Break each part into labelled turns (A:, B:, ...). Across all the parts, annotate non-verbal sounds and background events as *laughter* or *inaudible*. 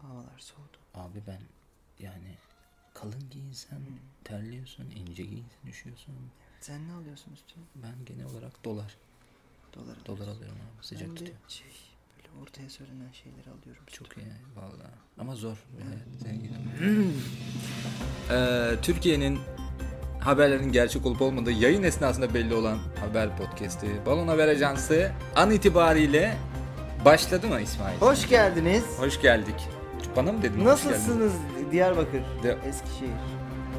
A: kadar soğudu.
B: Abi ben yani kalın giyinsen
A: Hmm.
B: terliyorsun, ince giyinsen üşüyorsun.
A: Sen ne alıyorsun üstüne?
B: Ben genel olarak dolar.
A: Dolar alıyorsun.
B: Dolar alıyorum abi sıcak
A: ben de
B: tutuyor.
A: şey böyle ortaya söylenen şeyleri alıyorum.
B: Çok iyi valla. Ama zor.
A: Hmm.
B: Evet, zengin. Ee, Türkiye'nin haberlerin gerçek olup olmadığı yayın esnasında belli olan haber podcast'i Balon Haber Ajansı an itibariyle başladı mı İsmail?
A: Hoş geldiniz.
B: Hoş geldik. Bana mı dedin? hoş geldin?
A: Nasılsınız Diyarbakır,
B: De-
A: Eskişehir?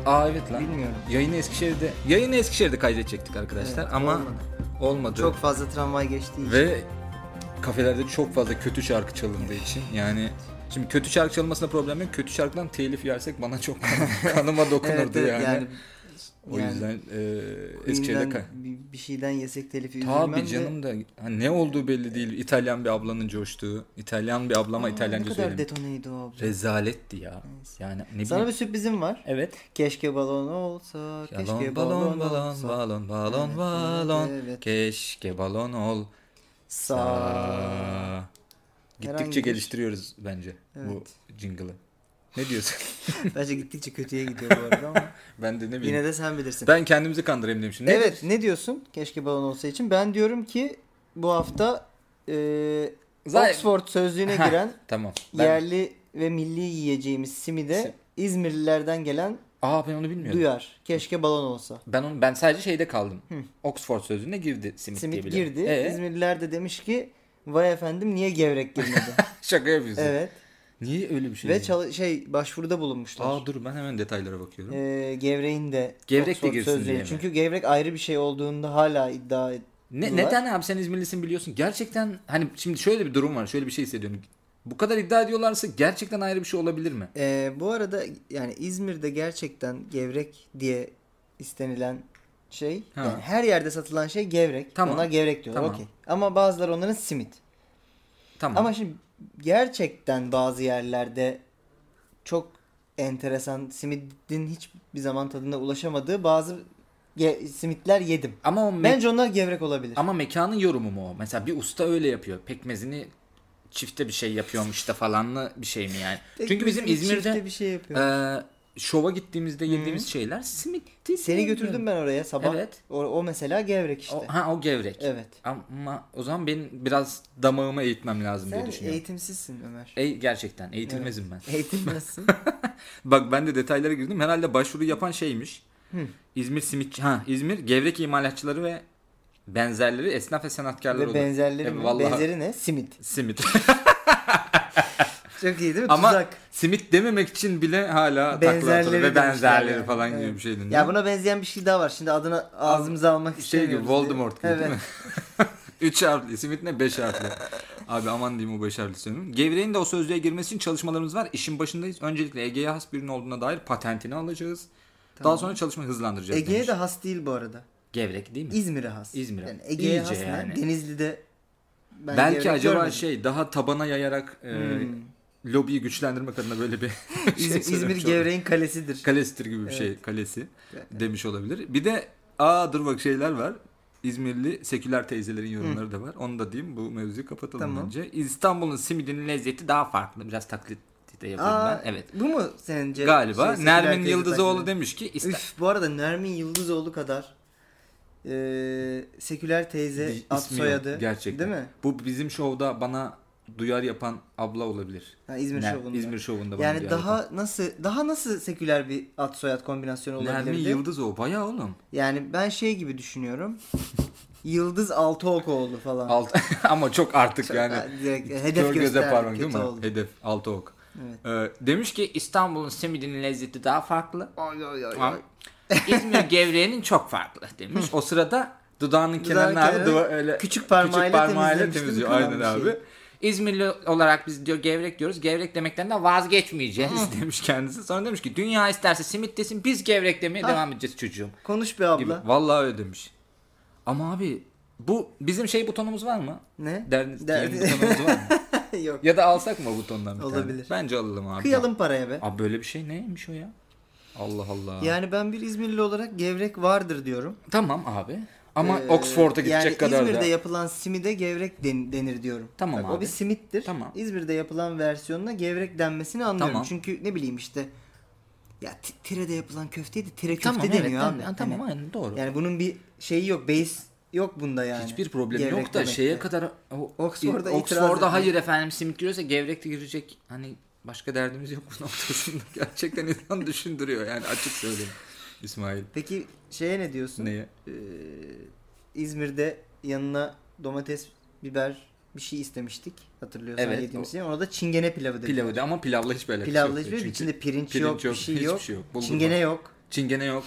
B: Aa evet lan.
A: Bilmiyorum.
B: Yayını Eskişehir'de yayını Eskişehir'de kaydedecektik arkadaşlar
A: Evet,
B: ama
A: olmadı.
B: olmadı.
A: Çok fazla tramvay geçtiği için.
B: Ve kafelerde çok fazla kötü şarkı çalındığı için yani şimdi kötü şarkı çalınmasına problem yok. Kötü şarkıdan telif yersek
A: *laughs*
B: bana çok kan- kanıma dokunurdu yani. O
A: yani
B: yüzden e, Eskişehir'de
A: Queen'den
B: kay.
A: bir, bir şeyden yesek telifi üzülmem
B: Tabii canım da hani ne olduğu belli değil. İtalyan bir ablanın coştuğu. İtalyan bir ablama
A: Aa,
B: İtalyanca
A: Ne kadar
B: söylemiş.
A: detoneydi o abla.
B: Rezaletti ya.
A: Neyse.
B: Yani ne
A: Sana
B: bileyim.
A: bir sürprizim var.
B: Evet.
A: Keşke balon olsa, keşke
B: Balon balon balon
A: olsa.
B: balon balon
A: Evet,
B: balon.
A: evet.
B: Keşke balon ol.
A: Sağ.
B: Aa.
A: Herhangi
B: Gittikçe
A: bir-
B: geliştiriyoruz bence bu
A: Evet.
B: jingle'ı.
A: *laughs*
B: Ne diyorsun?
A: Bence gittikçe kötüye gidiyor bu
B: *laughs*
A: arada ama
B: ben de ne bileyim.
A: yine de sen bilirsin.
B: Ben kendimizi kandırayım demişim. Ne?
A: Evet ne diyorsun? Keşke balon olsa için. Ben diyorum ki bu hafta e,
B: Zaten-
A: Oxford
B: *laughs*
A: sözlüğüne
B: Ha,
A: giren
B: Tamam. Ben...
A: yerli ve milli yiyeceğimiz simide İzmirlilerden gelen
B: Aa ben onu bilmiyorum.
A: duyar. Keşke balon olsa.
B: Ben onu ben sadece şeyde kaldım. Oxford sözlüğüne girdi simit, diye
A: Simit
B: biliyorum.
A: girdi.
B: Ee,
A: İzmirliler de demiş ki vay efendim niye gevrek
B: *laughs*
A: girmedi?
B: Şaka yapıyorsun.
A: evet.
B: Niye öyle bir şey?
A: Ve çalı- şey başvuruda bulunmuşlar.
B: Aa dur ben hemen detaylara bakıyorum.
A: Ee, gevreğin de
B: Gevrek de
A: Oxford
B: girsin
A: sözlüğü.
B: diye mi?
A: Çünkü gevrek ayrı bir şey olduğunda hala iddia et.
B: Ne,
A: Bunlar-
B: neden abi sen İzmirlisin biliyorsun. Gerçekten hani şimdi şöyle bir durum var. Şöyle bir şey hissediyorum. Bu kadar iddia ediyorlarsa gerçekten ayrı bir şey olabilir mi?
A: Ee, bu arada yani İzmir'de gerçekten gevrek diye istenilen şey
B: Ha.
A: yani her yerde satılan şey gevrek.
B: Tamam.
A: Onlar gevrek diyorlar.
B: Tamam.
A: Okey. Ama bazıları onların simit.
B: Tamam.
A: Ama şimdi gerçekten bazı yerlerde çok enteresan simidin hiçbir zaman tadına ulaşamadığı bazı ge- simitler yedim.
B: ama o me-
A: Bence onlar gevrek olabilir.
B: Ama mekanın yorumu mu o? Mesela bir usta öyle yapıyor. Pekmezini çifte bir şey yapıyormuş da falanlı bir şey mi yani? Çünkü bizim
A: Pekmezini
B: İzmir'de
A: E, çifte bir şey yapıyor.
B: e, şova gittiğimizde yediğimiz şeyler simit. değil
A: Seni
B: mi?
A: götürdüm ben oraya sabah.
B: Evet.
A: O, o mesela gevrek işte.
B: O, ha o gevrek.
A: Evet.
B: Ama o zaman benim biraz damağımı eğitmem lazım diye
A: Sen
B: düşünüyorum.
A: eğitimsizsin Ömer.
B: Ey, gerçekten eğitilmezim ben. *laughs*
A: Eğitilmezsin.
B: Bak ben de detaylara girdim. Herhalde başvuru yapan şeymiş. İzmir simit ha İzmir gevrek imalatçıları ve benzerleri esnaf ve sanatkarlar
A: Ve
B: olur.
A: benzerleri
B: E,
A: mi?
B: vallahi
A: Benzeri ne? Simit. *laughs*
B: simit. *laughs*
A: Çok iyi değil mi?
B: Ama
A: Tuzak.
B: simit dememek için bile hala benzerleri ve
A: demişler
B: benzerleri
A: yani.
B: falan gibi
A: Evet.
B: bir şey şeydi.
A: Ya buna benzeyen bir şey daha var. Şimdi adını ağzımıza almak
B: şey
A: istemiyoruz.
B: gibi
A: diye.
B: Voldemort gibi değil mi? *laughs* Üç harfli. Simit ne? Beş harfli. Abi aman diyeyim o beş harfli söylüyorum. Gevreğin de o sözlüğe girmesi için çalışmalarımız var. İşin başındayız. Öncelikle Ege'ye has bir ürün olduğuna dair patentini alacağız. Daha sonra çalışmayı hızlandıracağız.
A: Ege'ye
B: demiş.
A: de has değil bu arada.
B: Gevrek değil mi?
A: İzmir'e has.
B: İzmir'e.
A: Yani Ege'ye
B: İyice
A: has ne?
B: yani.
A: Denizli'de ben
B: Belki
A: gevrek
B: acaba
A: görmedim. Hmm.
B: şey daha tabana yayarak e, lobiyi güçlendirmek adına böyle bir şey
A: *laughs* İz- *laughs* İzmir
B: söylemiş olabilir.
A: gevreğin kalesidir.
B: Kalesidir gibi bir şey. Kalesi demiş olabilir. Bir de aa dur bak şeyler var. İzmirli seküler teyzelerin yorumları da var. Onu da diyeyim. Bu mevzuyu kapatalım
A: Tamam.
B: bence. İstanbul'un simidinin lezzeti daha farklı. Biraz taklit de yapayım
A: Aa,
B: ben. Evet.
A: Bu mu senin ce-
B: Galiba
A: şey, seküler
B: Nermin
A: teyze
B: Yıldızoğlu
A: taklitin?
B: demiş ki İsta-
A: Üf bu arada Nermin Yıldızoğlu kadar eee seküler teyze
B: ismi
A: ad
B: yok.
A: soyadı.
B: Gerçekten.
A: Değil mi?
B: Bu bizim şovda bana duyar yapan abla olabilir.
A: Ha, İzmir
B: Ne-
A: şovunda.
B: İzmir şovunda bana
A: Yani
B: duyar
A: daha
B: yapan.
A: nasıl daha nasıl seküler bir ad soyad kombinasyonu
B: Nermin
A: olabilirdi?
B: Yıldızoğlu bayağı oğlum.
A: Yani ben şey gibi düşünüyorum. Yıldız Altıokoğlu falan.
B: *laughs* Alt- ama çok artık yani.
A: Ha, direkt
B: Kör
A: hedef
B: göze
A: gösterdik.
B: parmak
A: kötü
B: değil mi?
A: oldu.
B: Hedef altı ok. Ee, demiş ki İstanbul'un simidinin lezzeti daha farklı.
A: Ay, ay, ay,
B: Ama
A: ay. *laughs*
B: İzmir gevreğinin çok farklı demiş. o sırada dudağının kenarını
A: kenarını
B: duva- öyle
A: küçük parmağıyla temizlemiş, değil mi?
B: temizliyor.
A: Kılan
B: Aynen
A: bir
B: abi.
A: şey.
B: İzmirli olarak biz diyor gevrek diyoruz. Gevrek demekten de vazgeçmeyeceğiz demiş kendisi. Sonra demiş ki dünya isterse simit desin biz gevrek demeye devam edeceğiz çocuğum.
A: Konuş be
B: Gibi.
A: abla.
B: Vallahi öyle demiş. Ama abi bu bizim şey butonumuz var mı?
A: Ne?
B: Dernizliğin
A: Derdi-
B: butonumuz var mı?
A: *laughs* Yok.
B: Ya da alsak mı o butondan bir tane?
A: Olabilir.
B: Bence alalım abi.
A: Kıyalım paraya be.
B: Abi böyle bir şey neymiş o ya? Allah Allah.
A: Yani ben bir İzmirli olarak gevrek vardır diyorum.
B: Tamam abi. Ama
A: Ee,
B: Oxford'a gidecek
A: yani
B: kadar
A: İzmir'de
B: da.
A: yapılan simide gevrek den- denir diyorum.
B: Tamam
A: Bak,
B: abi.
A: O bir simittir.
B: Tamam.
A: İzmir'de yapılan versiyonuna gevrek denmesini anlıyorum.
B: Tamam.
A: Çünkü ne bileyim işte ya t- tire'de yapılan köfteydi tire köfte
B: tamam, evet,
A: deniyor
B: tamam,
A: abi.
B: yani tamam
A: Hani,
B: aynen doğru.
A: yani bunun bir şeyi yok. Base yok bunda yani.
B: Hiçbir problem
A: Gevrek
B: yok da
A: demekte.
B: şeye kadar o-
A: Oxford'a
B: i-
A: itiraz
B: Oxford'a
A: etmek.
B: hayır efendim simit giriyorsa gevrek de girecek. Hani başka derdimiz yok bu noktasında. *laughs* Gerçekten insan düşündürüyor yani açık söyleyeyim İsmail.
A: Peki şeye ne diyorsun?
B: Neye?
A: Ee, İzmir'de yanına domates, biber bir şey istemiştik. Hatırlıyorsan
B: Evet,
A: yediğimiz şey. Ona da çingene pilavı dedi.
B: Pilavı da ama pilavla hiçbir alakası
A: Pilavlı
B: yoktu
A: hiçbir
B: şey çünkü.
A: içinde pirinç,
B: pirinç
A: yok,
B: yok,
A: bir şey
B: hiçbir
A: yok.
B: şey yok, bulgur
A: çingene
B: var.
A: yok.
B: Çingene yok.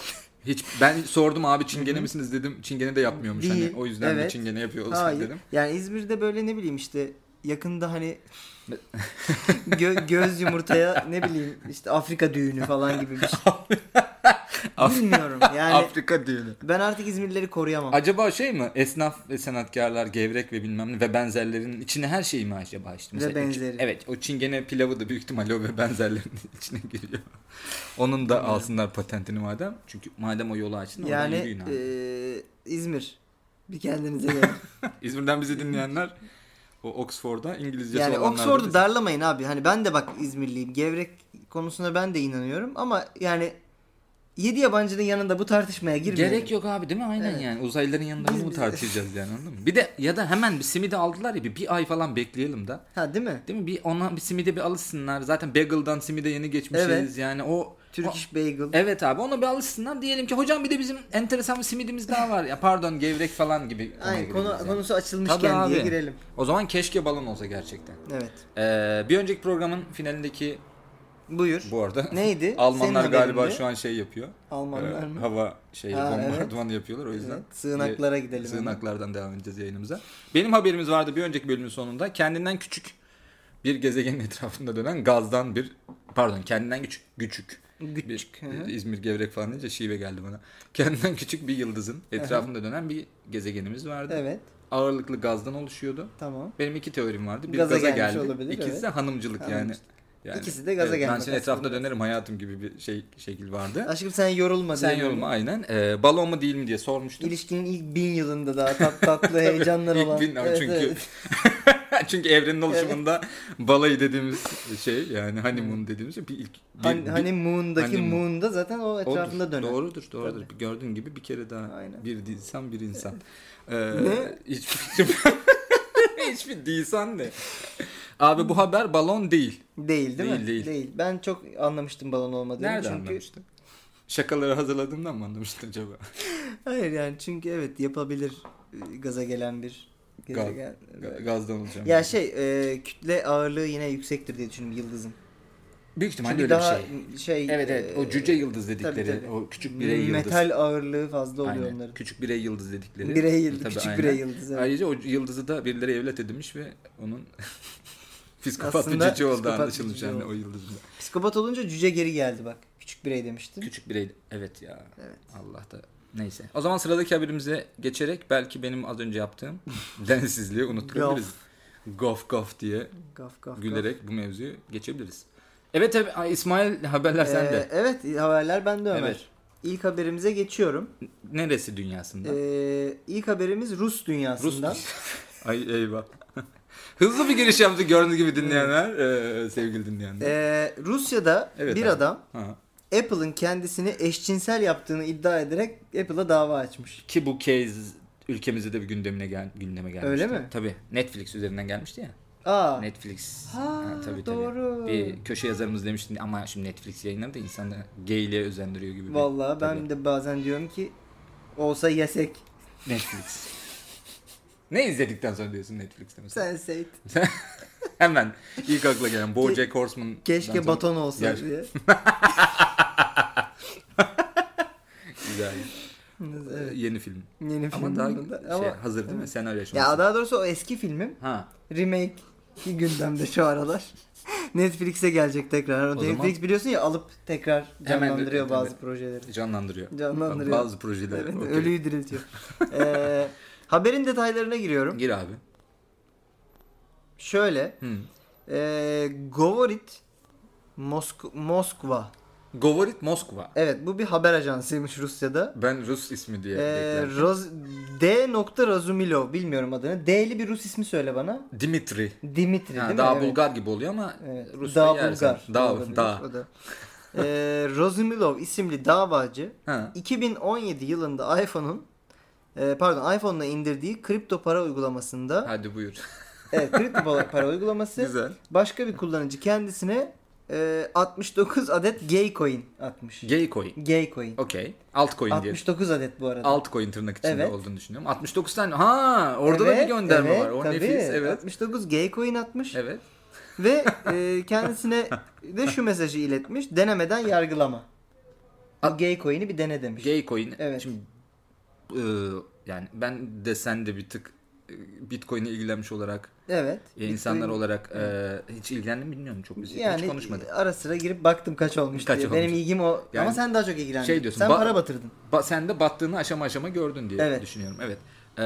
B: Hiç ben sordum abi çingene misiniz dedim. Çingene de yapmıyormuş
A: Değil,
B: hani. O yüzden de
A: evet.
B: çingene yapıyor olsun
A: Hayır.
B: dedim.
A: Yani İzmir'de böyle ne bileyim işte yakında
B: *laughs*
A: hani gö- göz yumurtaya ne bileyim işte Afrika düğünü falan gibi bir şey.
B: *laughs*
A: Bilmiyorum yani
B: Afrika düğünü.
A: ben artık İzmirlileri koruyamam.
B: Acaba şey mi? Esnaf ve sanatkarlar, gevrek ve bilmem ne ve benzerlerinin içine her şey mi acaba işte?
A: Ve
B: Mesela o çi-
A: benzeri.
B: Evet o çingene pilavı da büyük ihtimalle o ve benzerlerinin *laughs* içine giriyor. Onun da alsınlar patentini madem. Çünkü madem o yolu açtın oradan
A: yani e,
B: yürüyün abi.
A: eee, İzmir bir kendinize
B: *laughs*
A: gelin.
B: İzmir'den bizi dinleyenler o Oxford'a İngilizcesi
A: yani
B: olanlar. da
A: Oxford'u
B: biz-
A: darlamayın abi. Hani ben de bak İzmirliyim. Gevrek konusuna ben de inanıyorum ama yani yedi yabancının yanında bu tartışmaya girmeyelim.
B: Gerek yok abi değil mi? Aynen
A: Evet.
B: yani. Uzaylıların yanında
A: Biz-
B: mı
A: biz-
B: tartışacağız yani anladın mı? Bir de ya da hemen bir simidi aldılar ya bir, bir ay falan bekleyelim da.
A: Ha değil mi?
B: Değil mi? Bir ona bir simide bir alışsınlar. Zaten bagel'dan simide yeni geçmişiz
A: Evet.
B: yani. O
A: Turkish Bagel.
B: o- Evet abi ona bir alışsınlar diyelim ki hocam bir de bizim enteresan bir simidimiz daha var ya pardon gevrek falan gibi. konuya
A: Aynen konu,
B: gireceğiz yani.
A: konusu açılmışken
B: Tabii abi.
A: diye girelim.
B: O zaman keşke balon olsa gerçekten.
A: Evet.
B: Ee, bir önceki programın finalindeki
A: Buyur.
B: bu arada
A: Neydi?
B: *laughs* Almanlar
A: Senin
B: galiba
A: haberinde.
B: şu an şey yapıyor.
A: Almanlar
B: Ee,
A: mı?
B: Hava şey
A: Ha,
B: bombardımanı yapıyorlar o yüzden.
A: Evet, sığınaklara
B: Ee,
A: gidelim hemen.
B: Sığınaklardan devam edeceğiz yayınımıza. Benim haberimiz vardı bir önceki bölümün sonunda. Kendinden küçük bir gezegenin *laughs* etrafında dönen gazdan bir pardon kendinden küçük küçük bir-
A: Güçük. hı.
B: İzmir gevrek falan deyince şive geldi bana. Kendinden küçük bir yıldızın etrafında dönen bir gezegenimiz vardı.
A: Evet.
B: Ağırlıklı gazdan oluşuyordu.
A: Tamam.
B: Benim iki teorim vardı. Bir gaza,
A: Gaza gelmiş
B: geldi.
A: olabilir,
B: İkisi
A: evet.
B: de hanımcılık, yani.
A: Hanımcılık.
B: yani.
A: İkisi de gaza
B: Ben
A: gelmek
B: senin etrafında
A: aslında.
B: dönerim hayatım gibi bir şey şekil vardı.
A: Aşkım sen yorulma.
B: Sen
A: diye
B: yorulma
A: böyle.
B: aynen. Ee, balon mu değil mi diye sormuştum.
A: İlişkinin ilk bin yılında daha tat
B: *laughs*
A: tatlı heyecanlar
B: ilk
A: olan.
B: bin abi çünkü-
A: evet.
B: *laughs* Çünkü evrenin oluşumunda balayı dediğimiz şey yani honeymoon dediğimiz şey bir ilk bir,
A: Hani,
B: bir-
A: hani Moon'daki
B: Hani Moon.
A: Moon'da zaten o
B: odur.
A: etrafında dönen.
B: Doğrudur, doğrudur. Gördüğün gibi bir kere daha
A: Aynen.
B: bir insan bir insan. Ee,
A: Ne?
B: Hiçbir, *laughs* hiçbir değilsen ne? Abi bu haber balon değil.
A: Değil değil mi?
B: Değil, değil.
A: Ben çok anlamıştım balon olmadığını.
B: Nerede
A: çünkü...
B: anlamıştın? Şakaları hazırladığımdan mı anlamıştın acaba?
A: Hayır yani çünkü evet yapabilir e, gaza gelen bir
B: Gaz-
A: gezegen.
B: Ga- Gazdan olacağım.
A: Ya şey e, kütle ağırlığı yine yüksektir diye düşünüyorum yıldızın.
B: Büyük ihtimalle
A: Çünkü
B: öyle bir
A: daha
B: şey.
A: şey.
B: Evet evet o
A: e,
B: cüce yıldız dedikleri
A: tabii.
B: o küçük birey yıldız.
A: Metal ağırlığı fazla oluyor
B: Aynen.
A: onların.
B: Küçük birey yıldız dedikleri. E,
A: Birey yıldız,
B: Tabii,
A: küçük
B: aynen.
A: birey yıldız. Evet.
B: Ayrıca o yıldızı da birileri evlat edinmiş ve onun *laughs* psikopat bir
A: Aslında
B: cici olduğu
A: psikopat bir
B: anlaşılmış
A: cici
B: yani
A: oldu.
B: o yıldızın. da.
A: Psikopat olunca cüce geri geldi bak. Küçük birey demiştin.
B: Küçük birey evet ya.
A: Evet.
B: Allah da neyse. O zaman sıradaki haberimize geçerek belki benim az önce yaptığım *laughs* densizliği unutturabiliriz. Gof gof diye
A: Gaf gaf.
B: gülerek bu mevzuyu geçebiliriz. Evet tabii Ay, İsmail haberler
A: gaf.
B: sende.
A: Ee, evet haberler bende Ömer.
B: Evet.
A: İlk haberimize geçiyorum.
B: Neresi dünyasında?
A: Ee, ilk haberimiz Rus
B: Rus
A: dünyasından.
B: *laughs* Ay eyvah. *laughs* Hızlı bir giriş yaptık gördüğünüz gibi dinleyenler, eee, sevgili dinleyenler.
A: Ee, Rusya'da
B: Evet
A: bir
B: abi.
A: adam
B: Ha.
A: Apple'ın kendisini eşcinsel yaptığını iddia ederek Apple'a dava açmış.
B: Ki bu case ülkemizde de bir gündemine gel gündeme gelmişti.
A: Öyle mi?
B: Tabii. Netflix üzerinden gelmişti ya.
A: Aa.
B: Netflix.
A: Ha, doğru.
B: Bir köşe yazarımız demişti ama şimdi Netflix yayınları da insanları gayliğe özendiriyor gibi. bir-
A: Vallahi ben
B: Tabii.
A: de bazen diyorum ki olsa yesek.
B: Netflix. ne izledikten sonra diyorsun Netflix'te mesela?
A: Sense8.
B: Hemen ilk akla gelen BoJack Horseman.
A: Keşke baton olsa
B: Gerçi- *laughs*
A: diye.
B: Güzel.
A: evet.
B: Yeni film.
A: Yeni
B: Ama
A: film
B: daha
A: bunda.
B: şey,
A: Ama-
B: hazır değil mi? Senaryo aşaması.
A: Ya daha doğrusu o eski filmim.
B: Ha.
A: Remake ki gündemde şu aralar. *laughs* Netflix'e gelecek tekrar.
B: O
A: Netflix
B: zaman-
A: biliyorsun ya alıp tekrar
B: Hemen-
A: canlandırıyor bazı
B: evet.
A: projeleri.
B: Canlandırıyor.
A: Canlandırıyor.
B: Bazı projeleri.
A: Evet,
B: okey.
A: Ölüyü
B: *laughs*
A: diriltiyor. Ee, haberin detaylarına giriyorum.
B: Gir abi.
A: Şöyle. e,
B: Hı.
A: Ee, Govorit Mosk Moskva
B: Govorit Moskva.
A: Evet bu bir haber ajansıymış Rusya'da.
B: Ben Rus ismi diye
A: Ee,
B: beklerdim.
A: Roz... D. Razumilov bilmiyorum adını. D'li bir Rus ismi söyle bana.
B: Dimitri.
A: Dimitri
B: Ha,
A: değil
B: daha
A: mi? Evet.
B: Bulgar gibi oluyor ama
A: Evet,
B: Rus
A: Dağ
B: yersen.
A: Bulgar.
B: Dağ,
A: Olabilir,
B: dağ.
A: o da. Ee, Rozumilov isimli davacı
B: Ha.
A: 2017 yılında iPhone'un e, pardon iPhone'la indirdiği kripto para
B: *laughs*
A: uygulamasında
B: Hadi buyur.
A: *laughs* evet kripto para- para uygulaması
B: Güzel.
A: başka bir kullanıcı kendisine e, 69 adet gay coin atmış.
B: Gaycoin.
A: Gay coin.
B: Okey. Altcoin diye.
A: 69 adet bu arada.
B: Altcoin tırnak içinde
A: Evet.
B: olduğunu düşünüyorum. 69 tane. Ha, orada da bir gönderme
A: evet,
B: var. O
A: tabii.
B: nefis. Evet.
A: 69 gay coin atmış
B: Evet.
A: ve e, kendisine de şu mesajı iletmiş. Denemeden yargılama. Bu gay coin'i bir dene demiş.
B: Gaycoin.
A: Evet.
B: Şimdi e, yani ben de sen de bir tık e, Bitcoin'e ilgilenmiş olarak
A: Evet.
B: e, insanlar olarak e, hiç ilgilendim bilmiyorum çok biz
A: yani
B: hiç konuşmadık.
A: ara sıra girip baktım kaç olmuş
B: Kaç
A: diye.
B: olmuş.
A: Benim ilgim o.
B: Yani
A: Ama sen daha çok ilgilendin.
B: şey diyorsun,
A: sen
B: ba-
A: para batırdın.
B: Ba- sen de battığını aşama aşama gördün diye
A: e, Evet.
B: düşünüyorum. Evet. E,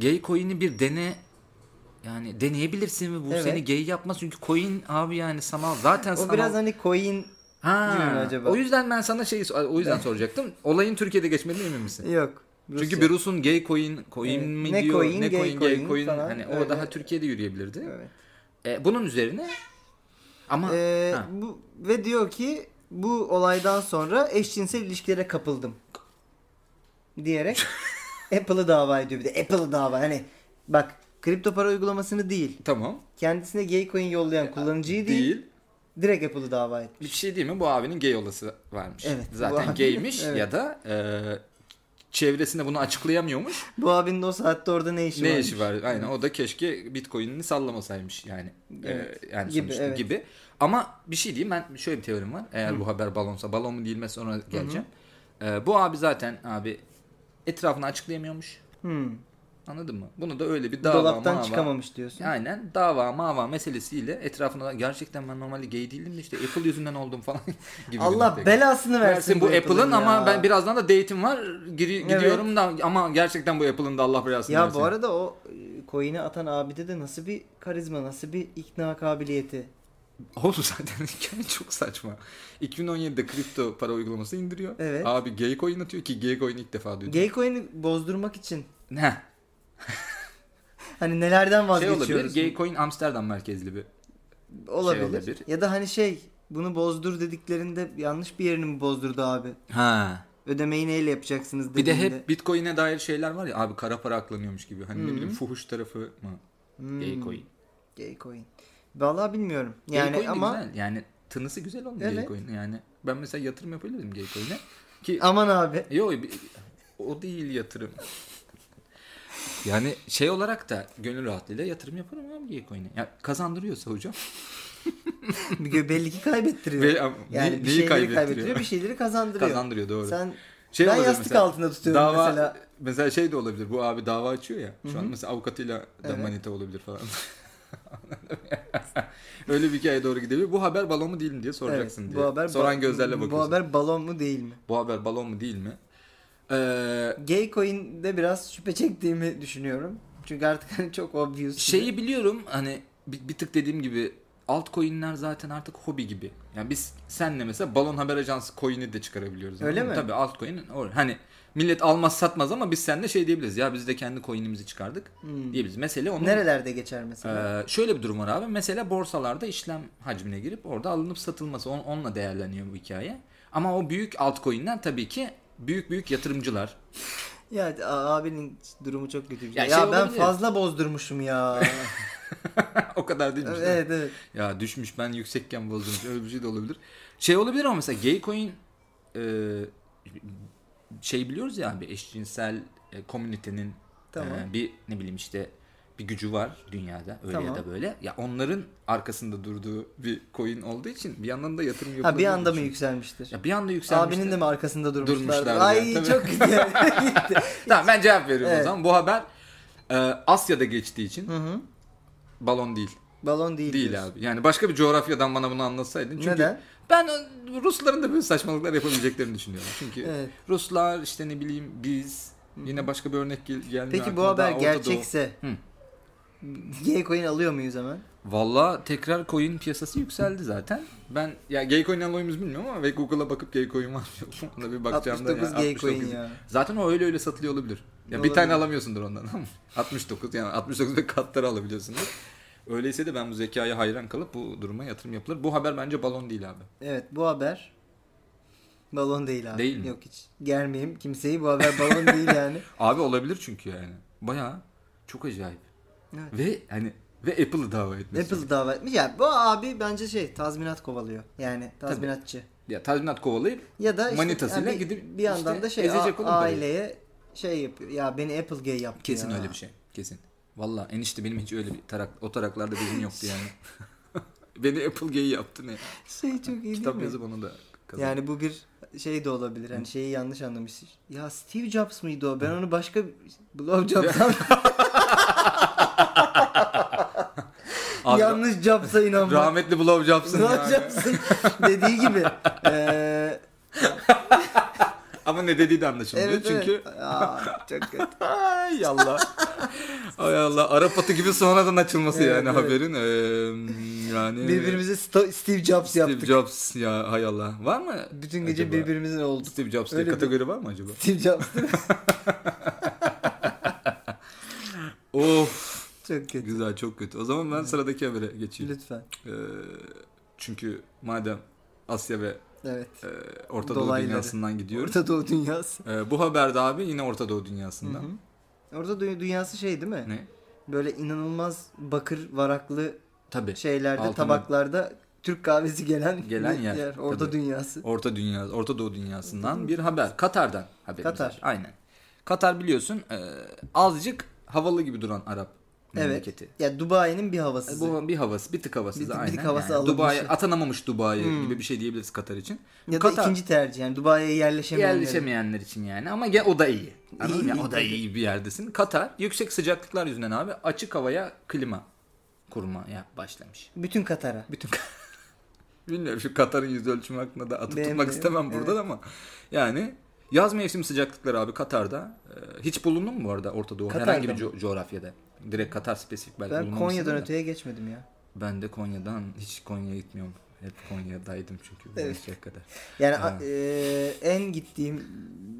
B: Gaycoin'i bir dene yani deneyebilirsin ve bu
A: Evet.
B: seni gay yapmaz çünkü coin abi yani sanal zaten
A: O
B: sanal.
A: biraz hani coin
B: ha,
A: gibi mi acaba?
B: O yüzden ben sana şeyi so- o yüzden soracaktım. Olayın Türkiye'de geçmediğine emin misin?
A: yok.
B: Çünkü
A: Ee, Rusya.
B: bir Rus'un gay coin, coin
A: Evet.
B: mi
A: Ne
B: diyor,
A: coin,
B: ne
A: gay
B: coin, gay coin,
A: coin falan.
B: hani o
A: Öyle.
B: daha Türkiye'de yürüyebilirdi.
A: Evet.
B: E, bunun üzerine ama
A: Ee,
B: ha,
A: bu, ve diyor ki bu olaydan sonra eşcinsel ilişkilere kapıldım. Diyerek
B: *laughs*
A: Apple'ı dava ediyor bir de. Apple'ı dava hani bak kripto para uygulamasını değil.
B: tamam
A: Kendisine gay coin yollayan kullanıcıyı değil,
B: değil.
A: Direkt Apple'ı dava etmiş.
B: Bir şey değil mi? Bu abinin gay olası varmış.
A: Evet, bu
B: Zaten
A: abi-
B: gaymiş
A: Evet.
B: ya da e, çevresinde bunu açıklayamıyormuş.
A: Bu abinin o saatte orada ne işi var?
B: ne işi var? Aynen o da keşke Bitcoin'ini sallamasaymış yani. E,
A: Evet.
B: yani
A: Gibi,
B: sonuçta
A: evet.
B: gibi. Ama bir şey diyeyim ben şöyle bir teorim var. Eğer bu haber balonsa balon mu değil mi sonra geleceğim. E, bu abi zaten abi etrafını açıklayamıyormuş.
A: Hmm.
B: Anladın mı? Bunu da öyle bir dava
A: Dolaptan
B: mava-
A: çıkamamış diyorsun.
B: Aynen dava mava meselesiyle etrafına gerçekten ben normalde gay değildim de işte Apple yüzünden oldum falan *laughs* gibi. bir
A: Allah
B: noktaya
A: belasını versin,
B: versin bu Apple'ın
A: ya.
B: ama ben birazdan da date'im var giri, gidiyorum da ama gerçekten bu Apple'ın da Allah belasını
A: Ya
B: versin.
A: bu arada o e, coin'i atan abide de nasıl bir karizma, nasıl bir ikna kabiliyeti.
B: *laughs* Oğlum zaten *laughs* hikaye çok saçma. 2017'de kripto para uygulaması indiriyor.
A: Evet.
B: Abi gay coin atıyor ki gay coin ilk defa duydum.
A: Gay coin'i bozdurmak için
B: Ne?
A: Hani nelerden
B: Şey
A: vazgeçiyoruz?
B: olabilir gay coin Amsterdam merkezli bir.
A: olabilir.
B: şey olabilir.
A: Ya da hani şey bunu bozdur dediklerinde yanlış bir yerini mi bozdurdu abi?
B: Ha.
A: Ödemeyi neyle yapacaksınız
B: Bir de
A: dediğinde.
B: hep Bitcoin'e dair şeyler var ya abi kara para aklanıyormuş gibi. Hani ne bileyim fuhuş tarafı mı?
A: Hmm.
B: Gay coin.
A: Gay coin. Vallahi bilmiyorum.
B: Yani
A: Yani ama
B: güzel. Yani tınısı güzel onun
A: Evet.
B: Gaycoin'in. Yani ben mesela yatırım yapabilirim Gaycoin'e. Ki
A: aman abi. *laughs*
B: yo bi- o değil yatırım. yani şey olarak da gönül rahatlığıyla yatırım yaparım abi Gaycoin'e. Ya kazandırıyorsa hocam.
A: Bir gö- belli ki kaybettiriyor.
B: Ve- am-
A: yani
B: ne-
A: bir
B: neyi
A: şeyleri
B: kaybettiriyor?
A: kaybettiriyor? bir şeyleri kazandırıyor.
B: Kazandırıyor doğru.
A: Sen
B: Şey
A: ben
B: olabilir
A: yastık
B: mesela,
A: altında tutuyorum
B: dava,
A: mesela.
B: Mesela şey de olabilir. Bu abi dava açıyor ya. Şu an mesela avukatıyla da
A: Evet.
B: manita olabilir falan. *laughs* Öyle bir hikaye doğru gidebilir. Bu haber balon mu değil mi diye soracaksın
A: Evet,
B: diye. Soran gözlerle bakıyorsun.
A: Bu haber balon mu değil mi?
B: bu haber balon mu değil mi? Ee,
A: Gay coin'de biraz şüphe çektiğimi düşünüyorum. Çünkü artık hani çok obvious.
B: şeyi biliyorum hani bir, bir tık dediğim gibi altcoin'ler zaten artık hobi gibi. Yani biz senle mesela balon haber ajansı coin'i de çıkarabiliyoruz.
A: Öyle
B: anladın mı?
A: mi?
B: Tabii altcoin'in or- hani millet almaz satmaz ama biz seninle şey diyebiliriz. Ya biz de kendi coin'imizi çıkardık diyebiliriz. Mesele onun
A: Hmm. nerelerde geçer mesela?
B: Ee, şöyle bir durum var abi. Mesela borsalarda işlem hacmine girip orada alınıp satılması. On, onunla değerleniyor bu hikaye. Ama o büyük altcoin'ler tabii ki büyük büyük yatırımcılar. *laughs*
A: Ya a- abinin durumu çok kötü bir şey.
B: Ya
A: Ya,
B: şey
A: ben
B: olabilir.
A: fazla bozdurmuşum
B: *laughs*
A: ya.
B: o kadar değilmiş. değil mi?
A: evet evet.
B: Ya düşmüş ben yüksekken bozulmuş. Öyle bir şey de olabilir. Şey olabilir ama mesela Gaycoin e, şey biliyoruz ya abi eşcinsel e, komünitenin
A: Tamam.
B: e, bir ne bileyim işte bir gücü var dünyada öyle ya
A: Tamam.
B: da böyle. Ya onların arkasında durduğu bir coin olduğu için bir yandan da yatırım yapılıyor.
A: Ha bir anda mı yükselmiştir?
B: Ya bir anda yükselmişti.
A: Abinin de mi arkasında durmuşlar?
B: Durmuşlardı
A: Ay
B: yani,
A: çok kötü. *laughs* Gitti.
B: Tamam ben cevap veriyorum o
A: Evet.
B: zaman. Bu haber e, Asya'da geçtiği için
A: Hı hı.
B: balon değil.
A: Balon değil.
B: Değil
A: diyorsun.
B: abi. Yani başka bir coğrafyadan bana bunu anlatsaydın. Çünkü
A: Neden?
B: ben o- Rusların da böyle saçmalıklar yapabileceklerini düşünüyorum. Çünkü
A: Evet.
B: Ruslar işte ne bileyim biz yine başka bir örnek gel- gelmiyor.
A: Peki bu
B: aklıma. Daha
A: haber
B: Orta Doğu.
A: gerçekse
B: Hı.
A: G-Coin alıyor muyuz hemen?
B: Valla tekrar coin piyasası yükseldi zaten. Ben ya Gaycoin alıyor muyuz bilmiyorum ama ve Google'a bakıp Gaycoin var mı yok mu ona bir bakacağım da.
A: 69
B: yani,
A: Gaycoin
B: 69.
A: ya.
B: Zaten o öyle öyle satılıyor olabilir. Ya bir
A: Olabilir.
B: tane alamıyorsundur ondan ama *laughs* 69 yani 69 ve katları alabiliyorsunuz. Öyleyse de ben bu zekaya hayran kalıp bu duruma yatırım yapılır. Bu haber bence balon değil abi.
A: Evet bu haber balon değil abi.
B: Değil mi?
A: Yok hiç. Germeyeyim kimseyi bu haber balon
B: *laughs*
A: değil yani.
B: Abi olabilir çünkü yani. Bayağı çok acayip.
A: Evet.
B: Ve hani ve Apple'ı dava etmesi.
A: Apple dava etmiş. Ya bu abi bence şey tazminat kovalıyor. Yani tazminatçı.
B: Ya tazminat kovalayıp
A: Ya da işte,
B: Manitasıyla
A: bir,
B: gidip
A: bir yandan
B: işte
A: da şey
B: ezecek oğlum
A: a-
B: parayı.
A: aileye şey yapıyor. Ya beni Apple gay yaptı
B: Kesin
A: ya.
B: öyle bir şey. Kesin. Valla enişte benim hiç öyle bir tarak, o taraklarda bizim yoktu yani. *laughs* Beni Apple Gay'i yaptı ne?
A: *laughs* Şey çok iyi değil
B: Kitap
A: mi?
B: yazıp onu da kazan.
A: Yani bu bir şey de olabilir. Hani şeyi yanlış anlamış. Ya Steve Jobs mıydı o? Ben onu başka
B: *laughs*
A: Blowjob'dan
B: Abi,
A: yanlış Jobs'a inanmam.
B: Rahmetli Blow Jobs'ın yani.
A: Blowjobs'ın dediği gibi. Ee,
B: Ama ne dediği de anlaşılmıyor
A: evet
B: çünkü.
A: evet. Aa, çok kötü.
B: Ay Allah. Ay Allah. Arap atı gibi sonradan açılması
A: Evet,
B: yani
A: evet.
B: haberin. *laughs* Ee, yani
A: Birbirimize Sto- Steve Jobs
B: Steve
A: yaptık.
B: Jobs ya hay Allah. Var mı?
A: Bütün gece
B: acaba?
A: birbirimizin olduk.
B: Steve Jobs diye
A: Öyle bir-
B: kategori var mı acaba?
A: *laughs* Steve Jobs değil mi?
B: of.
A: Çok kötü.
B: Güzel çok kötü. O zaman ben sıradaki habere geçeyim.
A: Lütfen.
B: Ee, çünkü madem Asya ve
A: Evet.
B: e, Orta Doğu
A: Dolayları.
B: dünyasından gidiyoruz.
A: Orta Doğu dünyası.
B: Ee, bu haberde abi yine Orta Doğu dünyasından.
A: Hı Orta Doğu dünyası şey değil mi?
B: Ne?
A: Böyle inanılmaz bakır varaklı
B: Tabii.
A: şeylerde,
B: Altın-
A: tabaklarda Türk kahvesi gelen,
B: Gelen
A: bir
B: yer.
A: Orta
B: Tabii.
A: dünyası.
B: Orta dünya, Orta Doğu dünyasından bir haber. Katar'dan haberimiz
A: Katar.
B: var. Aynen. Katar biliyorsun e, azıcık havalı gibi duran Arap memleketi.
A: Evet. Ya Dubai'nin bir havası.
B: Bu bir havası, bir tık havası
A: Bir tık- bir
B: aynen.
A: tık havası
B: yani.
A: alınmış.
B: Dubai atanamamış Dubai gibi bir şey diyebiliriz Katar için.
A: ya da
B: Katar
A: ikinci tercih yani Dubai'ye yerleşemeyenler.
B: yerleşemeyenler için yani ama gel o da iyi. Anladın mı?
A: İyi,
B: Ya
A: iyi
B: O da
A: tabii.
B: iyi bir yerdesin. Katar yüksek sıcaklıklar yüzünden abi açık havaya klima kurmaya başlamış.
A: Bütün Katar'a.
B: Bütün *laughs* Bilmiyorum şu Katar'ın yüz ölçümü hakkında da atıp
A: Benim
B: tutmak
A: de,
B: istemem buradan ama yani yaz mevsim sıcaklıkları abi Katar'da e, hiç bulundun mu bu arada Orta Doğu
A: Katar'da
B: herhangi bir
A: mı?
B: co- coğrafyada? Direkt Katar spesifik belki
A: Ben
B: bulunmamışsındır
A: Konya'dan
B: da.
A: öteye geçmedim ya.
B: Ben de Konya'dan hiç Konya'ya gitmiyorum. Hep Konya'daydım çünkü bu
A: Evet.
B: yaşa kadar.
A: Yani a-
B: Ha.
A: e, en gittiğim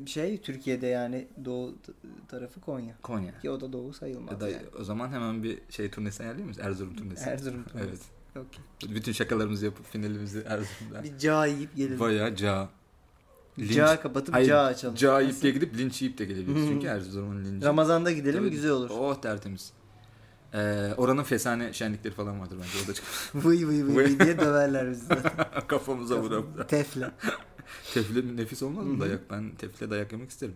A: şey Türkiye'de yani doğu t- tarafı Konya.
B: Konya.
A: Ki o da doğu sayılmaz.
B: Ya da
A: yani.
B: o zaman hemen bir şey turnesi ayarlayayım mı?
A: *laughs*
B: Erzurum turnesi.
A: Erzurum turnesi.
B: Evet.
A: Okey.
B: Bütün şakalarımızı yapıp finalimizi Erzurum'da. *laughs*
A: Bir ca yiyip gelelim.
B: Bayağı ca. Linç-
A: Ca kapatıp
B: Hayır,
A: ca açalım.
B: Ca
A: Nasıl?
B: yiyip de gidip linç yiyip de gelebiliriz.
A: Hı.
B: Çünkü Erzurum'un linci.
A: Ramazan'da gidelim
B: Tabii.
A: güzel olur.
B: Oh tertemiz. Ee, oranın fesane şenlikleri falan vardır bence. Orada çıkıp
A: Vıy vıy vıy
B: Vıy.
A: vıy diye döverler bizi zaten.
B: *laughs* kafamıza vurup.
A: Tefle.
B: Tefle nefis olmaz
A: Hı
B: mı
A: hı.
B: dayak? Ben tefle dayak yemek isterim.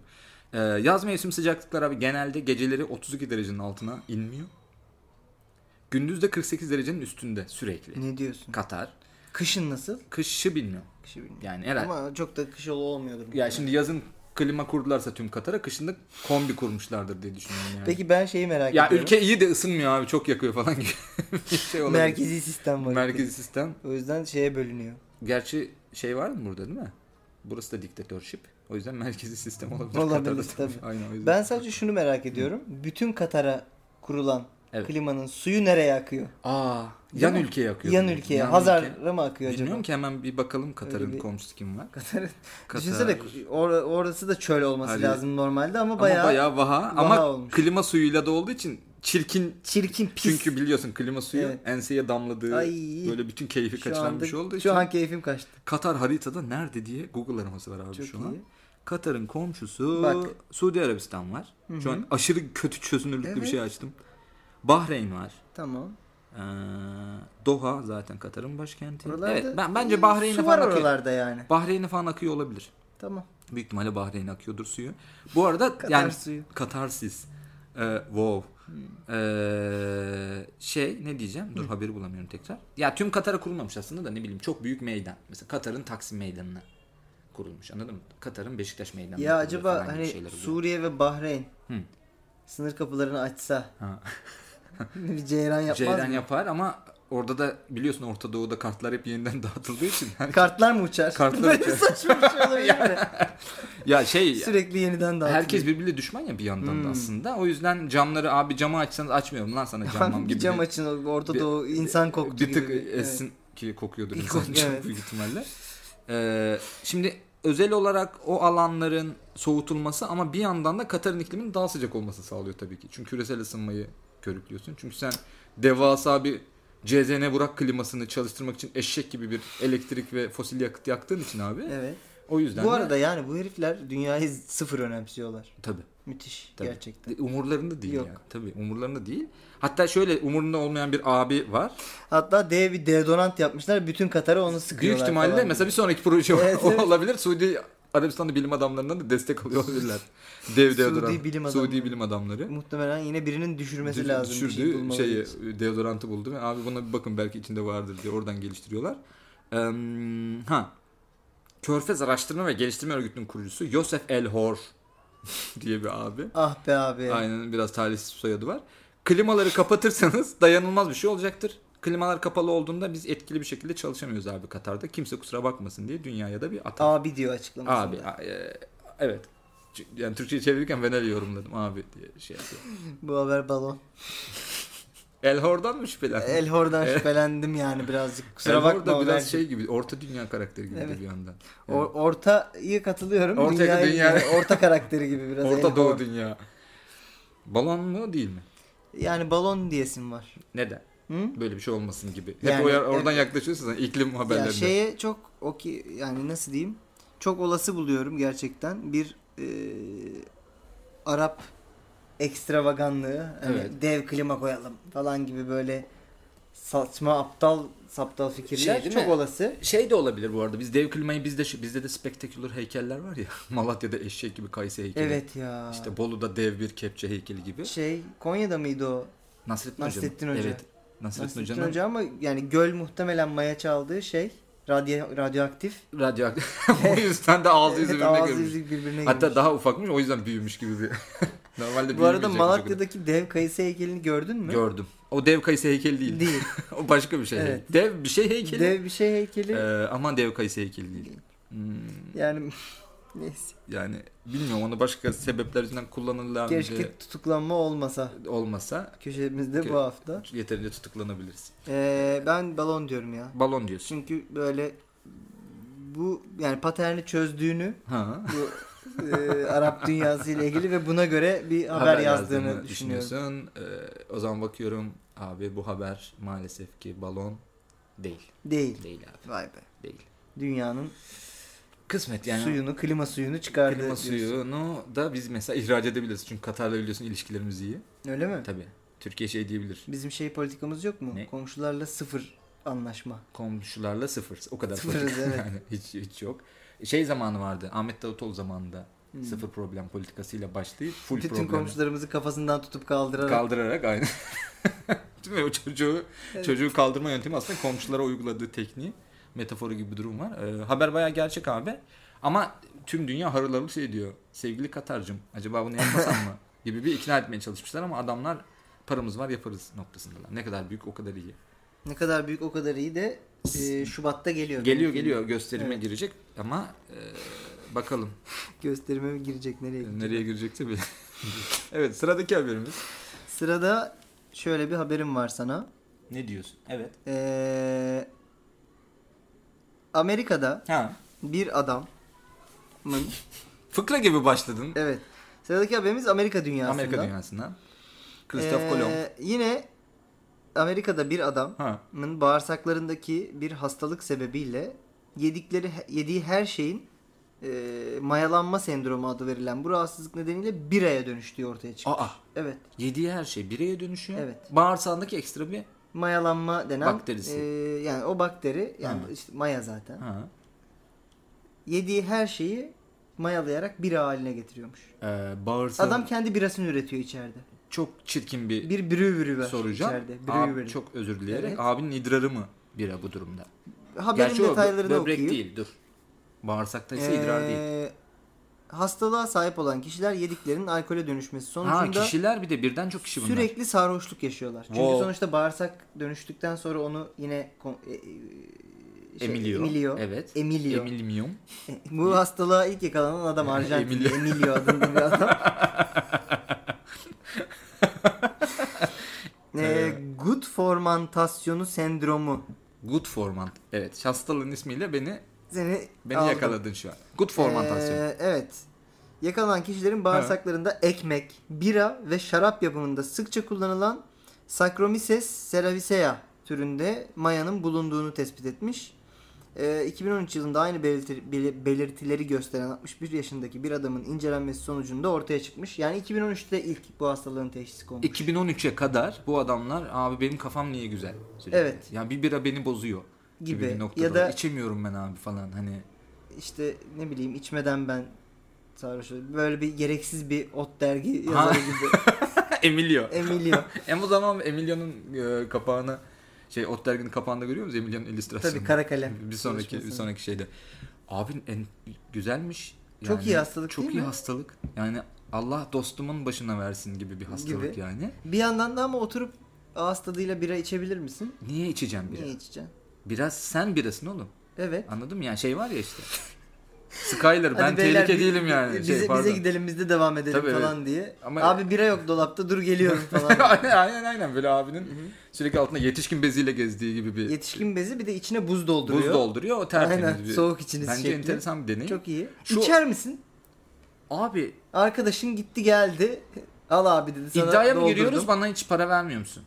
B: Ee, yaz mevsim sıcaklıkları abi genelde geceleri 32 derecenin altına inmiyor. Gündüz de 48 derecenin üstünde sürekli.
A: Ne diyorsun?
B: Katar.
A: Kışın nasıl?
B: Kışı bilmiyorum.
A: Kışı bilmiyorum.
B: Yani herhalde.
A: Ama çok da kış yolu olmuyordur.
B: Ya şimdi yazın klima kurdularsa tüm Katar'a kışında kombi kurmuşlardır diye düşünüyorum yani.
A: Peki ben şeyi merak
B: ya
A: ediyorum.
B: ülke iyi de ısınmıyor abi çok yakıyor falan gibi *laughs* bir şey olabilir.
A: Merkezi sistem var.
B: Merkezi sistem.
A: O yüzden şeye bölünüyor.
B: Gerçi şey var mı burada değil mi? Burası da diktatörship. O yüzden merkezi sistem olabilir.
A: Olabilir,
B: tabii.
A: tabii.
B: Aynen o yüzden.
A: Ben sadece şunu merak ediyorum. Bütün Katar'a kurulan
B: Evet.
A: klimanın suyu nereye akıyor?
B: Aa,
A: Değil
B: yan
A: mi?
B: ülkeye akıyor.
A: Yan
B: bu.
A: ülkeye.
B: Yan ülke.
A: Hazar'a mı akıyor acaba?
B: Bilmiyorum ki hemen bir bakalım Katar'ın
A: Öyle bir-
B: komşusu kim
A: *laughs*
B: var.
A: Katar'ın-
B: Katar.
A: Düşünsene or- orası da çöl olması
B: Hadi.
A: lazım normalde ama
B: Ama bayağı,
A: bayağı,
B: vaha.
A: vaha
B: Ama
A: olmuş.
B: klima suyuyla da olduğu için çirkin
A: çirkin pis.
B: Çünkü biliyorsun klima suyu
A: Evet.
B: enseye damladığı
A: Ay.
B: böyle bütün keyfi
A: şu
B: kaçıran
A: anda-
B: bir şey olduğu için.
A: Şu an keyfim kaçtı.
B: Katar haritada nerede diye Google araması var abi
A: Çok
B: şu
A: iyi.
B: an. Katar'ın komşusu
A: Bak.
B: Suudi Arabistan var. Şu an aşırı kötü çözünürlüklü bir
A: Evet.
B: şey açtım. Bahreyn var.
A: Tamam.
B: Ee, Doha zaten Katar'ın başkenti.
A: Oralarda
B: evet ben bence
A: e,
B: Bahreyn'e
A: su var
B: falan akıyor.
A: oralarda yani.
B: Bahreyn'e falan akıyor olabilir.
A: Tamam.
B: Büyük ihtimalle Bahreyn'e akıyordur suyu. Bu arada
A: *laughs* Katar
B: yani
A: suyu. Hmm.
B: Katarsis. Ee, wow. Ee, şey ne diyeceğim? Dur haberi bulamıyorum tekrar. Ya tüm Katar'a kurulmamış aslında da ne bileyim çok büyük meydan. Mesela Katar'ın Taksim Meydanı'na kurulmuş anladın mı? Katar'ın Beşiktaş Meydanı'na
A: Ya
B: kuruluyor
A: acaba
B: falan gibi
A: hani
B: şeyler oluyor.
A: Suriye ve Bahreyn
B: Hı.
A: sınır kapılarını açsa
B: Ha.
A: *laughs* bir ceyran yapmaz
B: Ceylan
A: mı?
B: yapar ama Orada da biliyorsun Orta Doğu'da kartlar hep yeniden *laughs* dağıtıldığı için. Yani
A: Kartlar mı uçar? *laughs*
B: Kartlar
A: Böyle
B: uçar.
A: saçma bir şey olabilir mi?
B: *laughs* ya şey
A: Sürekli yeniden dağıtılıyor. Hmm.
B: herkes birbiriyle düşman ya bir yandan da aslında. O yüzden camları abi camı açsanız açmıyorum
A: *laughs*
B: lan sana
A: Tamam,
B: camam
A: bir
B: gibi.
A: cam açın orta
B: bir-
A: doğu insan koktu
B: bir tık
A: gibi. Evet.
B: esin ki kokuyordur
A: Bir
B: insan
A: kok-
B: çok
A: evet.
B: büyük ihtimalle. Ee, şimdi özel olarak o alanların soğutulması ama bir yandan da Katar'ın ikliminin daha sıcak olması sağlıyor tabii ki. Çünkü küresel ısınmayı körüklüyorsun. Çünkü sen devasa bir CZN Burak klimasını çalıştırmak için eşek gibi bir elektrik ve fosil yakıt yaktığın için abi.
A: Evet.
B: O yüzden
A: Bu
B: de-
A: arada yani bu herifler dünyayı sıfır önemsiyorlar.
B: tabii.
A: Müthiş
B: Tabii.
A: gerçekten.
B: Umurlarında değil
A: Yok.
B: yani. Tabii umurlarında değil. Hatta şöyle umurunda olmayan bir abi var.
A: Hatta dev bir deodorant yapmışlar. Bütün Katar'a onu
B: Büyük
A: sıkıyorlar.
B: ihtimalle
A: falan.
B: mesela bir sonraki proje
A: Evet, evet.
B: olabilir. Suudi Arabistan'da bilim adamlarından da destek alıyor olabilirler. Dev
A: *laughs*
B: deodorant.
A: Suudi bilim
B: Suudi
A: adamları.
B: bilim adamları.
A: muhtemelen yine birinin düşürmesi
B: Dü-
A: lazım. bir şey
B: Düşürdüğü
A: bulmaları
B: şeyi, e,
A: için.
B: deodorantı buldu. ve Abi buna bir bakın belki içinde vardır diye oradan geliştiriyorlar. Em, ha. Körfez Araştırma ve Geliştirme Örgütü'nün kurucusu Yosef El Hor *laughs* diye bir abi.
A: Ah be abi.
B: Aynen biraz talihsiz bir soyadı var. Klimaları kapatırsanız *laughs* dayanılmaz bir şey olacaktır. Klimalar kapalı olduğunda biz etkili bir şekilde çalışamıyoruz abi Katar'da. Kimse kusura bakmasın diye dünyaya da bir atar.
A: Abi diyor açıklamasında.
B: Abi a- e, evet. Ç- Yani Türkçe'ye çevirirken ben öyle yorumladım abi diye şey yapıyor.
A: Bu haber balon.
B: El Hor'dan mı şüphelendin?
A: El
B: *laughs*
A: Hor'dan şüphelendim yani birazcık. Kusura
B: El Hor
A: bakma.
B: da biraz
A: Ömerciğim.
B: şey gibi, orta dünya karakteri gibi
A: Evet.
B: bir yandan.
A: O- ortaya katılıyorum.
B: Ortaya-
A: Dünyayı-
B: dünya-
A: orta karakteri gibi biraz. El
B: *laughs* orta Doğu
A: Hor.
B: dünya. Balon mu değil mi?
A: Yani balon diyesim var.
B: Neden?
A: Hı?
B: Böyle bir şey olmasın gibi. Hep
A: Yani,
B: o yer- oradan
A: evet.
B: yaklaşıyorsun sen iklim haberlerine.
A: Ya şeye çok o ki yani nasıl diyeyim? Çok olası buluyorum gerçekten. Bir e, Arap ekstravaganlığı, hani
B: Evet.
A: dev klima koyalım falan gibi böyle saçma aptal saptal fikirler
B: Şey değil
A: çok
B: mi?
A: olası.
B: Şey de olabilir bu arada. Biz dev klimayı bizde şu- bizde de spektaküler heykeller var ya. *laughs* Malatya'da eşek gibi Kayse heykeli.
A: Evet ya.
B: İşte Bolu'da dev bir kepçe heykeli gibi.
A: şey Konya'da mıydı o?
B: Nasrettin,
A: Nasrettin
B: Hoca.
A: Hoca.
B: Evet. Nasrettin,
A: Nasrettin
B: Hoca'nın
A: Hoca ama yani göl muhtemelen maya çaldığı şey radyo radyoaktif.
B: radyoaktif. *laughs* o yüzden de ağzı yüzü
A: Evet,
B: birbirine
A: ağzı
B: görmüş.
A: yüzü birbirine
B: Hatta
A: girmiş.
B: daha ufakmış o yüzden büyümüş gibi bir. *laughs* Normalde
A: Bu arada
B: büyümeyecekmiş o
A: Malatya'daki dev kayısı heykelini gördün mü?
B: kadar. gördüm. O dev kayısı heykeli değil.
A: Değil.
B: *laughs* o başka bir şey.
A: Evet.
B: Dev bir şey heykeli.
A: Dev bir şey heykeli.
B: Ee, aman dev kayısı heykeli değil. Hmm,
A: Yani *laughs* neyse.
B: yani bilmiyorum onu başka sebepler yüzünden kullanırlar mı diye
A: Keşke tutuklanma olmasa.
B: olmasa
A: Köşemizde
B: Ke-
A: bu hafta.
B: yeterince tutuklanabilirsin.
A: Ee, ben balon diyorum ya.
B: Balon diyorsun.
A: Çünkü böyle bu yani paterni çözdüğünü
B: Ha.
A: bu
B: *laughs*
A: e, Arap dünyası ile ilgili ve buna göre bir haber, yazdığını düşünüyorum.
B: düşünüyorsun. Ee, o zaman bakıyorum abi bu haber maalesef ki balon değil.
A: Değil.
B: Değil abi
A: Vay be.
B: değil.
A: Dünyanın
B: Kısmet yani.
A: suyunu, klima suyunu çıkardı.
B: klima
A: diyorsun.
B: suyunu da biz mesela ihraç edebiliriz. Çünkü Katar'la biliyorsun ilişkilerimiz iyi.
A: Öyle mi?
B: Tabii. Türkiye şey diyebilir.
A: Bizim şey politikamız yok mu?
B: Ne?
A: Komşularla sıfır anlaşma.
B: Komşularla sıfır. O kadar
A: Sıfırız,
B: politik.
A: evet.
B: *laughs* yani hiç, hiç yok. Şey zamanı vardı. Ahmet Davutoğlu zamanında
A: Hmm.
B: sıfır problem politikasıyla başlayıp full
A: Bütün
B: problem
A: komşularımızı kafasından tutup kaldırarak
B: kaldırarak aynı. *laughs* Değil mi? O çocuğu,
A: Evet.
B: çocuğu kaldırma yöntemi aslında komşulara uyguladığı tekniği metaforu gibi bir durum var. Ee, haber bayağı gerçek abi. Ama tüm dünya harıl harıl şey diyor. Sevgili Katar'cım acaba bunu yapmasam *laughs* mı? gibi bir ikna etmeye çalışmışlar ama adamlar paramız var yaparız noktasındalar. Ne kadar büyük o kadar iyi.
A: Ne kadar büyük o kadar iyi de e, Şubat'ta geliyor.
B: Geliyor
A: Benim
B: geliyor gösterime
A: Evet.
B: girecek ama e, bakalım
A: Gösterime mi girecek nereye? gidiyor?
B: nereye girecek tabii. *laughs* evet sıradaki haberimiz.
A: Sırada şöyle bir haberim var sana.
B: Ne diyorsun? Evet.
A: Ee, Amerika'da
B: Ha.
A: bir adamın
B: Fıkra gibi başladın.
A: evet. Sıradaki haberimiz Amerika dünyasında.
B: Amerika dünyasından. Christoph
A: Ee,
B: Kolomb.
A: Yine Amerika'da bir adamın
B: Ha.
A: bağırsaklarındaki bir hastalık sebebiyle yedikleri yediği her şeyin e, mayalanma sendromu adı verilen bu rahatsızlık nedeniyle biraya dönüştüğü ortaya çıktı.
B: Aa.
A: Evet.
B: Yediği her şey bireye dönüşüyor.
A: Evet.
B: Bağırsağındaki ekstra bir
A: mayalanma denen
B: Bakterisi.
A: e, yani o bakteri yani
B: Ha.
A: işte maya zaten.
B: ha.
A: Yediği her şeyi mayalayarak bira haline getiriyormuş.
B: Ee, bağırsağı
A: Adam kendi birasını üretiyor içeride.
B: çok çirkin bir,
A: Bir breweri var
B: soracağım.
A: içeride.
B: Abi,
A: Brewery.
B: çok özür dileyerek.
A: Evet.
B: Abinin idrarı mı bira bu durumda?
A: Haberin
B: Gerçi o bö-
A: detaylarını
B: böbrek
A: okuyayım.
B: değil dur. Bağırsakta ise idrar değil.
A: Ee, hastalığa sahip olan kişiler yediklerinin alkole dönüşmesi
B: Ha
A: sonucunda
B: kişiler bir de birden çok kişi bunlar.
A: sürekli sarhoşluk yaşıyorlar. Çünkü
B: Wow.
A: sonuçta bağırsak dönüştükten sonra onu yine kon- e- e- şey,
B: Emilio.
A: emiliyor.
B: Evet.
A: Emiliyor.
B: Emilmium.
A: *laughs* Bu hastalığa ilk yakalanan
B: *laughs*
A: adam Arjantinli.
B: Emilio.
A: Emilio adında bir
B: *laughs*
A: adam. *laughs* Ee, good formantasyonu sendromu.
B: Good forman. Evet. Hastalığın ismiyle beni
A: Seni
B: beni
A: aldım.
B: yakaladın şu an. Good formantasyon.
A: Ee, evet. Yakalanan kişilerin bağırsaklarında ekmek, bira ve şarap yapımında sıkça kullanılan Saccharomyces cerevisiae türünde mayanın bulunduğunu tespit etmiş. Ee, 2013 yılında aynı belirti- bel- belirtileri gösteren 61 yaşındaki bir adamın incelenmesi sonucunda ortaya çıkmış. Yani 2013'te ilk bu hastalığın teşhisi konmuş.
B: 2013'e kadar bu adamlar abi benim kafam niye güzel? Sürekli.
A: Evet.
B: Ya bir bira beni bozuyor gibi,
A: Gibi.
B: bir noktada.
A: Ya da-
B: içemiyorum ben abi falan hani.
A: İşte ne bileyim içmeden ben sarhoş oldum. Böyle bir gereksiz bir ot dergi yazarı gibi.
B: Emilio.
A: E- Emilio.
B: Hem o zaman Emilio'nun e, kapağını şey Ot derginin kapağında görüyor musunuz? Emilio'nun illüstrasyonu.
A: Tabii kara kalem.
B: Bir sonraki bir
A: çalışmasını.
B: sonraki şeyde. Abi en güzelmiş.
A: Çok iyi hastalık
B: Çok
A: değil
B: iyi
A: mi?
B: hastalık. Yani Allah dostumun başına versin gibi bir hastalık
A: Gibi.
B: yani.
A: Bir yandan da ama oturup ağız tadıyla bira içebilir misin?
B: Niye içeceğim bira?
A: Niye içeceksin?
B: Biraz sen birasın oğlum.
A: Evet.
B: Anladın mı? Yani şey var ya işte. Skyler ben
A: Hadi beyler,
B: tehlike
A: bi-
B: değilim yani.
A: Bize,
B: şey,
A: bize
B: pardon.
A: gidelim biz de devam edelim
B: Tabii,
A: falan diye.
B: Ama-
A: Abi bira yok dolapta dur
B: *laughs*
A: geliyorum falan.
B: *laughs* aynen aynen aynen böyle abinin sürekli altında yetişkin beziyle gezdiği gibi bir
A: Yetişkin bezi bir de içine buz dolduruyor.
B: buz dolduruyor. O tertemiz
A: Aynen
B: bir.
A: soğuk içiniz
B: Bence
A: şekli.
B: enteresan bir deneyim.
A: Çok iyi.
B: Şu-
A: İçer misin?
B: Abi
A: Arkadaşın gitti geldi. Al abi dedi sana
B: iddiaya mı
A: doldurdum.
B: giriyoruz bana hiç para vermiyor musun?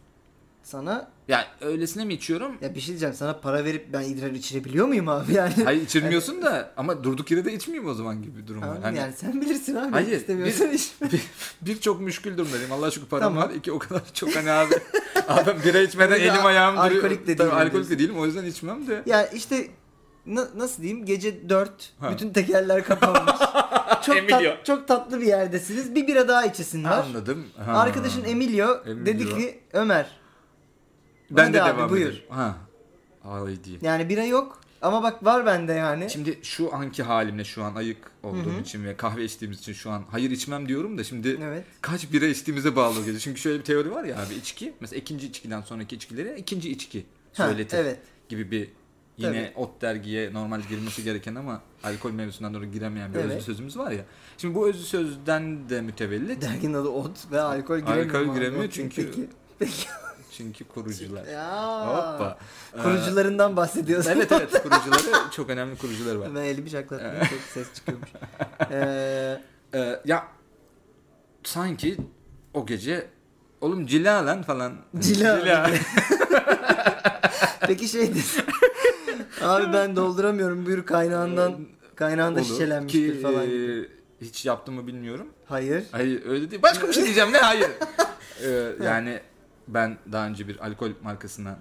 A: Sana
B: Ya öylesine
A: *laughs*
B: mi içiyorum?
A: ya bir şey diyeceğim sana para verip ben idrar içirebiliyor muyum abi yani?
B: Hayır içirmiyorsun da ama durduk yere de içmeyeyim o zaman gibi bir durum var.
A: Anladın mı?
B: Hani
A: yani sen bilirsin abi.
B: Hayır,
A: istemiyorsan iç.
B: *laughs* bir- birçok müşkül durumdayım. Allah şükür param
A: Tamam.
B: var. İki o kadar çok
A: *laughs*
B: hani abi. abi ben bira içmeden
A: Burada
B: elim ayağım
A: alkolik
B: duruyor.
A: de
B: Tabii
A: değilim
B: alkolik
A: diyorsun.
B: de değilim o yüzden içmem de.
A: Ya işte na- nasıl diyeyim gece 4
B: Ha.
A: bütün tekerler
B: *laughs*
A: kapanmış. çok,
B: Emilio.
A: tat, çok tatlı bir yerdesiniz. Bir bira daha içesin var.
B: Anladım. Ha.
A: Arkadaşın Emilio,
B: Emilio.
A: dedi ki Ömer
B: Ben
A: Hadi
B: de
A: abi,
B: devam
A: buyur.
B: edeyim. Ha. Haydi.
A: yani bira yok ama bak var bende yani.
B: Şimdi şu anki halimle şu an ayık olduğum için ve kahve içtiğimiz için şu an hayır içmem diyorum da şimdi
A: Evet.
B: kaç bira içtiğimize bağlı geliyor. Çünkü şöyle bir teori var ya abi içki mesela ikinci içkiden sonraki içkilere ikinci içki
A: Ha,
B: söyletir
A: evet.
B: gibi bir yine ot dergiye normal girmesi gereken ama alkol mevzusundan doğru giremeyen bir özlü
A: Evet.
B: sözümüz var ya. Şimdi bu özlü sözden de mütevellit
A: Derginin adı ot ve alkol giremiyor.
B: Alkol
A: mu?
B: giremiyor
A: Okey,
B: çünkü-
A: Peki.
B: çünkü kurucular.
A: Ya.
B: Hoppa. Ee,
A: Kurucularından bahsediyorsun.
B: evet evet kurucuları çok önemli kurucuları var.
A: *laughs* Ben elimi çaklattım. çok ses çıkıyormuş. Ee,
B: Ee, ya sanki o gece oğlum cila lan falan.
A: *laughs* Cila. peki şey
B: *laughs*
A: dedi. Abi ben dolduramıyorum buyur
B: *laughs* Ee,
A: kaynağından. Kaynağında
B: Olur
A: şişelenmiştir
B: ki
A: falan.
B: e, hiç yaptım mı bilmiyorum.
A: Hayır.
B: Hayır öyle değil. Başka bir şey diyeceğim
A: *laughs*
B: ne hayır. Ee, yani ben daha önce bir alkol markasına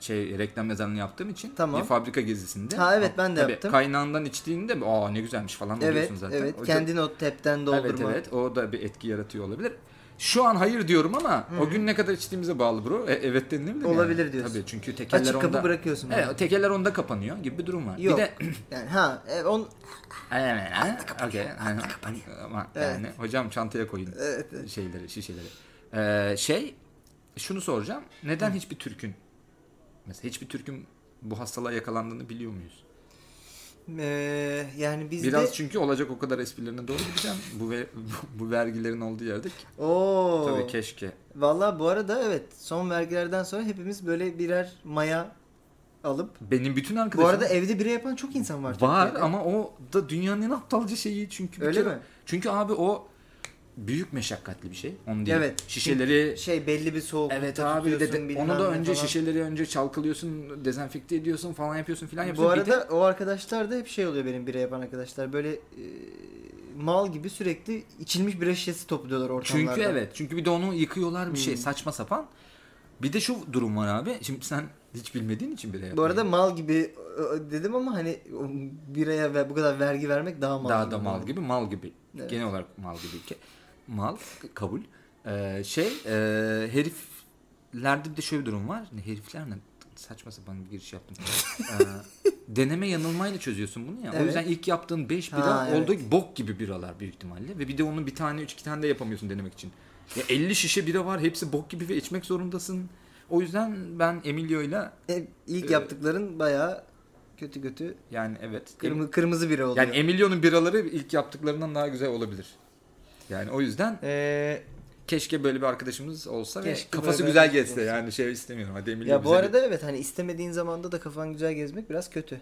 B: şey reklam yazarını yaptığım için
A: Tamam.
B: bir fabrika gezisinde.
A: Ha, evet, ben de
B: Tabii,
A: yaptım.
B: Kaynağından içtiğinde aa ne güzelmiş falan
A: Evet,
B: oluyorsun zaten.
A: evet.
B: O çok-
A: Kendini o tepten
B: Evet
A: doldurma.
B: evet o da bir etki yaratıyor olabilir. Şu an hayır diyorum ama o gün ne kadar içtiğimize bağlı bro. E, evet denilebilir yani.
A: Olabilir diyorsun.
B: Tabii çünkü tekeller
A: Açık
B: onda.
A: kapı bırakıyorsun.
B: Evet,
A: yani.
B: o tekeller onda kapanıyor gibi bir durum var.
A: Yok. *clears throat*
B: Bir de
A: yani ha, e, on
B: Aynen, aynen. Okey, aynen. Ama yani hocam çantaya koyun
A: Evet,
B: şeyleri, şişeleri. Ee, şey şunu soracağım. Neden hiçbir Türk'ün mesela hiçbir Türk'ün bu hastalığa yakalandığını biliyor muyuz?
A: e, yani bizde
B: Biraz çünkü olacak o kadar esprilerine doğru gideceğim. Bu ve, *laughs* bu, bu vergilerin olduğu yerde ki-
A: Oo.
B: tabii keşke.
A: Vallahi bu arada evet son vergilerden sonra hepimiz böyle birer maya alıp
B: Benim bütün
A: bu
B: arkadaşım
A: arada evde bire yapan çok insan var.
B: var
A: Türkiye'de.
B: ama o da dünyanın en aptalca şeyi çünkü bir
A: Öyle
B: kere-
A: mi?
B: Çünkü abi o büyük meşakkatli bir şey. Onu diyeyim.
A: Evet.
B: Şişeleri
A: şey belli bir soğuk.
B: Evet abi de, de- onu da önce şişeleri önce çalkalıyorsun, dezenfekte ediyorsun falan yapıyorsun filan
A: Bu
B: yapıyorsun. Bir de-
A: arada o arkadaşlar da hep şey oluyor benim bire yapan arkadaşlar. Böyle e, mal gibi sürekli içilmiş bira şişesi topluyorlar
B: çünkü
A: ortamlarda. Hmm.
B: evet. Çünkü bir de onu yıkıyorlar bir şey saçma sapan. Bir de şu durum var abi. Şimdi sen hiç bilmediğin için bile
A: Bu
B: yapıyorsun.
A: arada mal gibi ö, ö, dedim ama hani o biraya ve bu kadar vergi vermek daha mal.
B: daha
A: gibi
B: da mal
A: bence.
B: gibi mal gibi.
A: Evet.
B: Genel olarak mal gibi. Ke- Mal kabul. Ee, şey e,
A: *laughs*
B: heriflerde bir de şöyle bir durum var. Ne herifler ne? Saçma sapan bir giriş yaptım. Ee, deneme yanılmayla çözüyorsun bunu ya. O
A: Evet.
B: yüzden ilk yaptığın 5
A: Ha,
B: bira
A: evet.
B: oldu bok gibi biralar büyük ihtimalle. Ve bir de onun bir tane üç iki tane de yapamıyorsun denemek için. Ya 50 şişe bira var hepsi bok gibi ve içmek zorundasın. O yüzden ben Emilio'yla
A: E, ilk
B: Ee,
A: yaptıkların bayağı kötü kötü
B: yani evet.
A: kırmızı kırmızı biri oluyor.
B: Yani Emilio'nun biraları ilk yaptıklarından daha güzel olabilir. Yani o yüzden
A: Ee,
B: keşke böyle bir arkadaşımız olsa
A: Keşke
B: ve kafası
A: böyle
B: güzel
A: bir
B: gezse.
A: arkadaşımız
B: Yani şey istemiyorum. Hadi Emilio
A: ya bu
B: bize bir-
A: arada evet hani istemediğin zamanda da kafan güzel gezmek biraz kötü.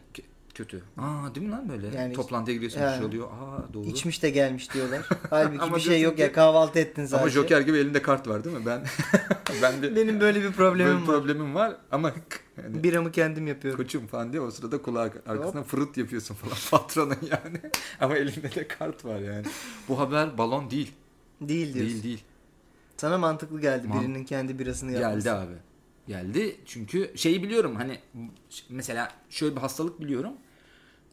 B: kötü. Aa değil mi lan böyle?
A: Yani-
B: Toplantıya gidiyorsun bir
A: Yani.
B: şey oluyor. Aa doğru.
A: İçmiş de gelmiş
B: *laughs*
A: diyorlar. Halbuki
B: Ama
A: bir şey
B: diyorsun
A: yok ya
B: ki-
A: kahvaltı ettin zaten.
B: Ama Joker gibi elinde kart var değil mi? Ben *laughs* ben bir
A: Benim böyle bir
B: böyle
A: problemim
B: bir
A: var.
B: problemim var ama *laughs* hani,
A: Biramı kendim yapıyorum.
B: koçum falan diye o sırada kulağı arkasına fırıt yapıyorsun falan *laughs* patronun yani. ama elinde de kart var yani. Bu haber balon değil.
A: Değil diyorsun.
B: Değil değil.
A: Sana mantıklı geldi
B: Man-
A: birinin kendi birasını yapması.
B: Geldi abi. Geldi çünkü şeyi biliyorum hani ş- mesela şöyle bir hastalık biliyorum.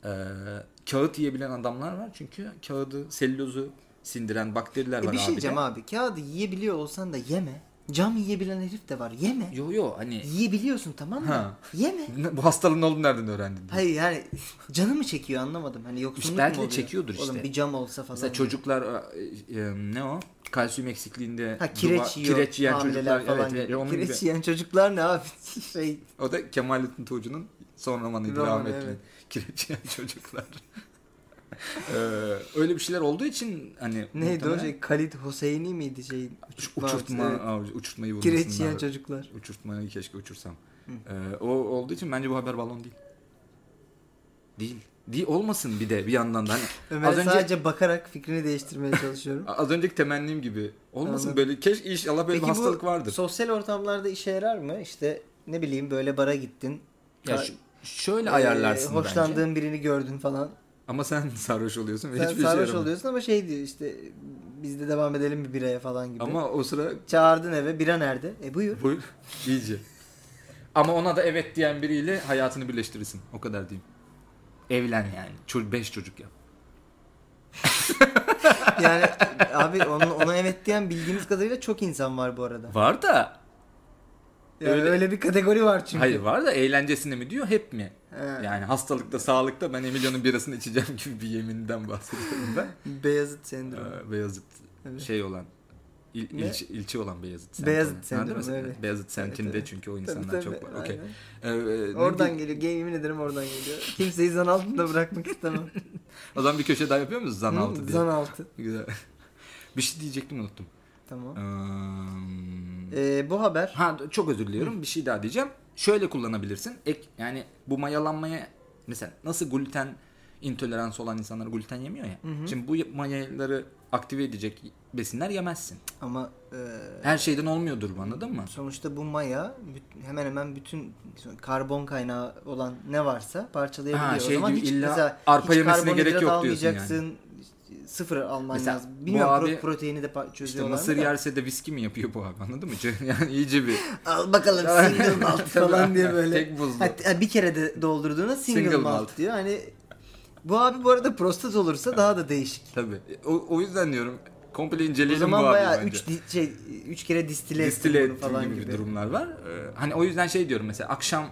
B: Ee, kağıt yiyebilen adamlar var çünkü kağıdı, selülozu sindiren bakteriler
A: E
B: var
A: bir şey
B: abi de.
A: diyeceğim abi. Kağıdı yiyebiliyor olsan da yeme. Cam yiyebilen herif de var. Yeme.
B: Yo yo hani *laughs*
A: Yiyebiliyorsun tamam mı?
B: Ha.
A: Yeme.
B: Ne- Bu hastalığın olduğunu nereden öğrendin? diye.
A: Hayır yani *laughs* canı mı çekiyor anlamadım. Hani yoksunluk
B: İşte belki
A: mu
B: de
A: oluyor?
B: çekiyordur işte.
A: Oğlum bir cam olsa falan.
B: Mesela çocuklar e, e, ne o? Kalsiyum eksikliğinde
A: Ha kireç
B: duva-
A: yiyor.
B: kireç yiyen
A: hamileler
B: çocuklar
A: falan.
B: evet, evet, onun
A: kireç
B: gibi.
A: yiyen çocuklar ne abi? *laughs* şey
B: O da Kemalettin Tuğcu'nun son romanıydı
A: Romanı,
B: rahmetli. *laughs*
A: evet.
B: Kireç yiyen çocuklar. *laughs* Ee, öyle bir şeyler olduğu için hani
A: neydi o
B: muhtemelen
A: şey? Khalid Hoseyni miydi şey?
B: şu uçurtma
A: Evet.
B: avcı- uçurtmayı
A: Kireç yiyen
B: bulmasınlar.
A: çocuklar.
B: Uçurtmayı keşke uçursam. Ee, o olduğu için bence bu haber balon değil. Değil. Değil olmasın bir de bir yandan da hani
A: *laughs* Ömer
B: az önce
A: sadece bakarak fikrini değiştirmeye çalışıyorum.
B: az önceki temennim gibi olmasın
A: Anladım.
B: böyle keşke inşallah böyle bir hastalık vardır.
A: sosyal ortamlarda işe yarar mı? İşte ne bileyim böyle bara gittin.
B: Ya
A: Ka-
B: şu- şöyle
A: e,
B: ayarlarsın
A: Hoşlandığın
B: bence.
A: birini gördün falan.
B: Ama sen *laughs* sarhoş oluyorsun ve
A: Sen
B: hiçbir
A: sarhoş
B: şey yaramıyor.
A: oluyorsun ama şey diyor işte biz de devam edelim bir biraya falan gibi.
B: Ama o sıra
A: Çağırdın eve bira nerede? E
B: *laughs*
A: buyur.
B: bu iyice. Ama ona da evet diyen biriyle hayatını birleştirirsin. O kadar diyeyim. Evlen yani. Ço- beş çocuk yap.
A: Yani abi onu, ona evet diyen bildiğimiz kadarıyla çok insan var bu arada.
B: Var da.
A: Yani
B: Öyle-
A: öyle, bir kategori var çünkü.
B: Hayır var da eğlencesine mi diyor hep mi?
A: He.
B: Yani hastalıkta sağlıkta ben Emilio'nun birasını içeceğim *laughs* gibi bir yeminden bahsediyorum
A: *laughs*
B: ben.
A: Beyazıt sendromu.
B: Ee, Beyazıt
A: Evet.
B: şey olan il,
A: Ne?
B: ilçe, ilçe olan Beyazıt semtine.
A: Beyazıt
B: Ha, değil
A: sendromu,
B: mi?
A: evet.
B: Beyazıt semtinde
A: evet.
B: çünkü o
A: Tabii,
B: insanlar
A: tabii,
B: çok var. Okey.
A: aynen.
B: Ee, e, ne
A: Oradan
B: bi-
A: geliyor. Ge- Yemin ederim oradan geliyor. Kimseyi zan altında bırakmak istemem.
B: o zaman bir köşe daha yapıyor muyuz *laughs* zan altı diye?
A: Zan altı.
B: Güzel. *laughs* bir şey diyecektim unuttum.
A: Tamam.
B: Eee,
A: Ee, bu haber
B: Ha çok özür diliyorum. Bir şey daha diyeceğim. Şöyle kullanabilirsin. Ek yani bu mayalanmaya mesela nasıl gluten intoleransı olan insanlar gluten yemiyor ya. Şimdi bu mayaları aktive edecek besinler yemezsin.
A: ama e,
B: Her şeyden olmuyordur bu anladın mı?
A: sonuçta bu maya büt- hemen hemen bütün karbon kaynağı olan ne varsa parçalayabiliyor.
B: Ha, şey
A: o zaman
B: gibi
A: hiç
B: illa
A: mesela
B: arpa
A: hiç
B: yemesine gerek
A: karbonhidrat
B: yok diyorsun
A: almayacaksın. Sıfır alman
B: Mesela
A: lazım.
B: bu
A: Bilmiyorum pro-
B: abi-
A: proteini de pa-
B: İşte
A: çözüyorlar.
B: mısır
A: da.
B: yerse de viski mi yapıyor bu abi anladın mı? *laughs* Yani iyice bir
A: Al bakalım
B: *laughs*
A: single malt falan diye böyle.
B: tek buzlu.
A: Hatta bir kere de doldurduğuna single,
B: Single
A: malt,
B: malt.
A: diyor. Hani bu abi bu arada prostat olursa daha da değişik.
B: Tabii. O, o yüzden diyorum komple inceleyelim
A: O zaman
B: bu abi
A: bayağı
B: bence.
A: 3 şey üç kere distile,
B: distile
A: ettim bunu
B: ettiğim
A: falan
B: gibi,
A: gibi.
B: bir durumlar var. Ee, hani o yüzden şey diyorum mesela akşam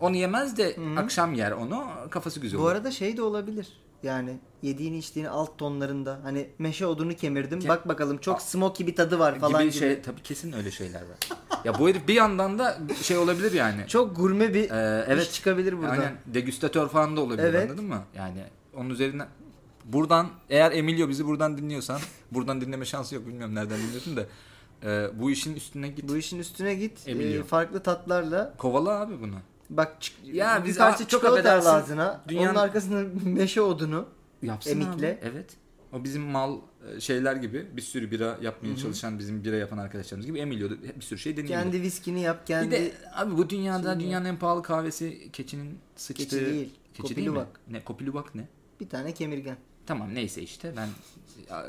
B: onu yemez de akşam yer onu kafası güzel
A: Bu
B: olur.
A: arada şey de olabilir. Yani yediğini içtiğini alt tonlarında hani meşe odunu kemirdim. Bak bakalım çok smoky bir tadı var falan
B: gibi,
A: gibi.
B: şey tabii kesin öyle şeyler var. ya bu herif bir yandan da şey olabilir yani.
A: Çok gurme bir
B: Ee,
A: evet
B: evet.
A: iş çıkabilir buradan.
B: Aynen degüstatör falan da olabilir
A: Evet.
B: anladın mı? Yani onun üzerinden buradan eğer Emilio bizi buradan dinliyorsan buradan dinleme şansı yok bilmiyorum nereden dinliyorsun da ee, bu işin üstüne git.
A: Bu işin üstüne git.
B: Emilio.
A: e, farklı tatlarla
B: Kovala abi bunu.
A: bak çık,
B: Ya
A: bir
B: biz-
A: parça
B: Aa, çok
A: çikolata al
B: affedersin.
A: ağzına.
B: Dünyanın-
A: Onun arkasında *laughs* meşe odunu.
B: Yapsın
A: Emikle.
B: abi. Evet. O bizim mal e, şeyler gibi bir sürü bira yapmaya çalışan bizim bira yapan arkadaşlarımız gibi Emilio da bir sürü şey deniyor.
A: Kendi viskini yap
B: bir
A: kendi.
B: de abi bu dünyada
A: Şimdi-
B: dünyanın en pahalı kahvesi keçinin sıçtığı.
A: Keçi değil,
B: değil mi?
A: kopiluvak.
B: Ne kopiluvak ne?
A: Bir tane kemirgen.
B: Tamam neyse işte ben e,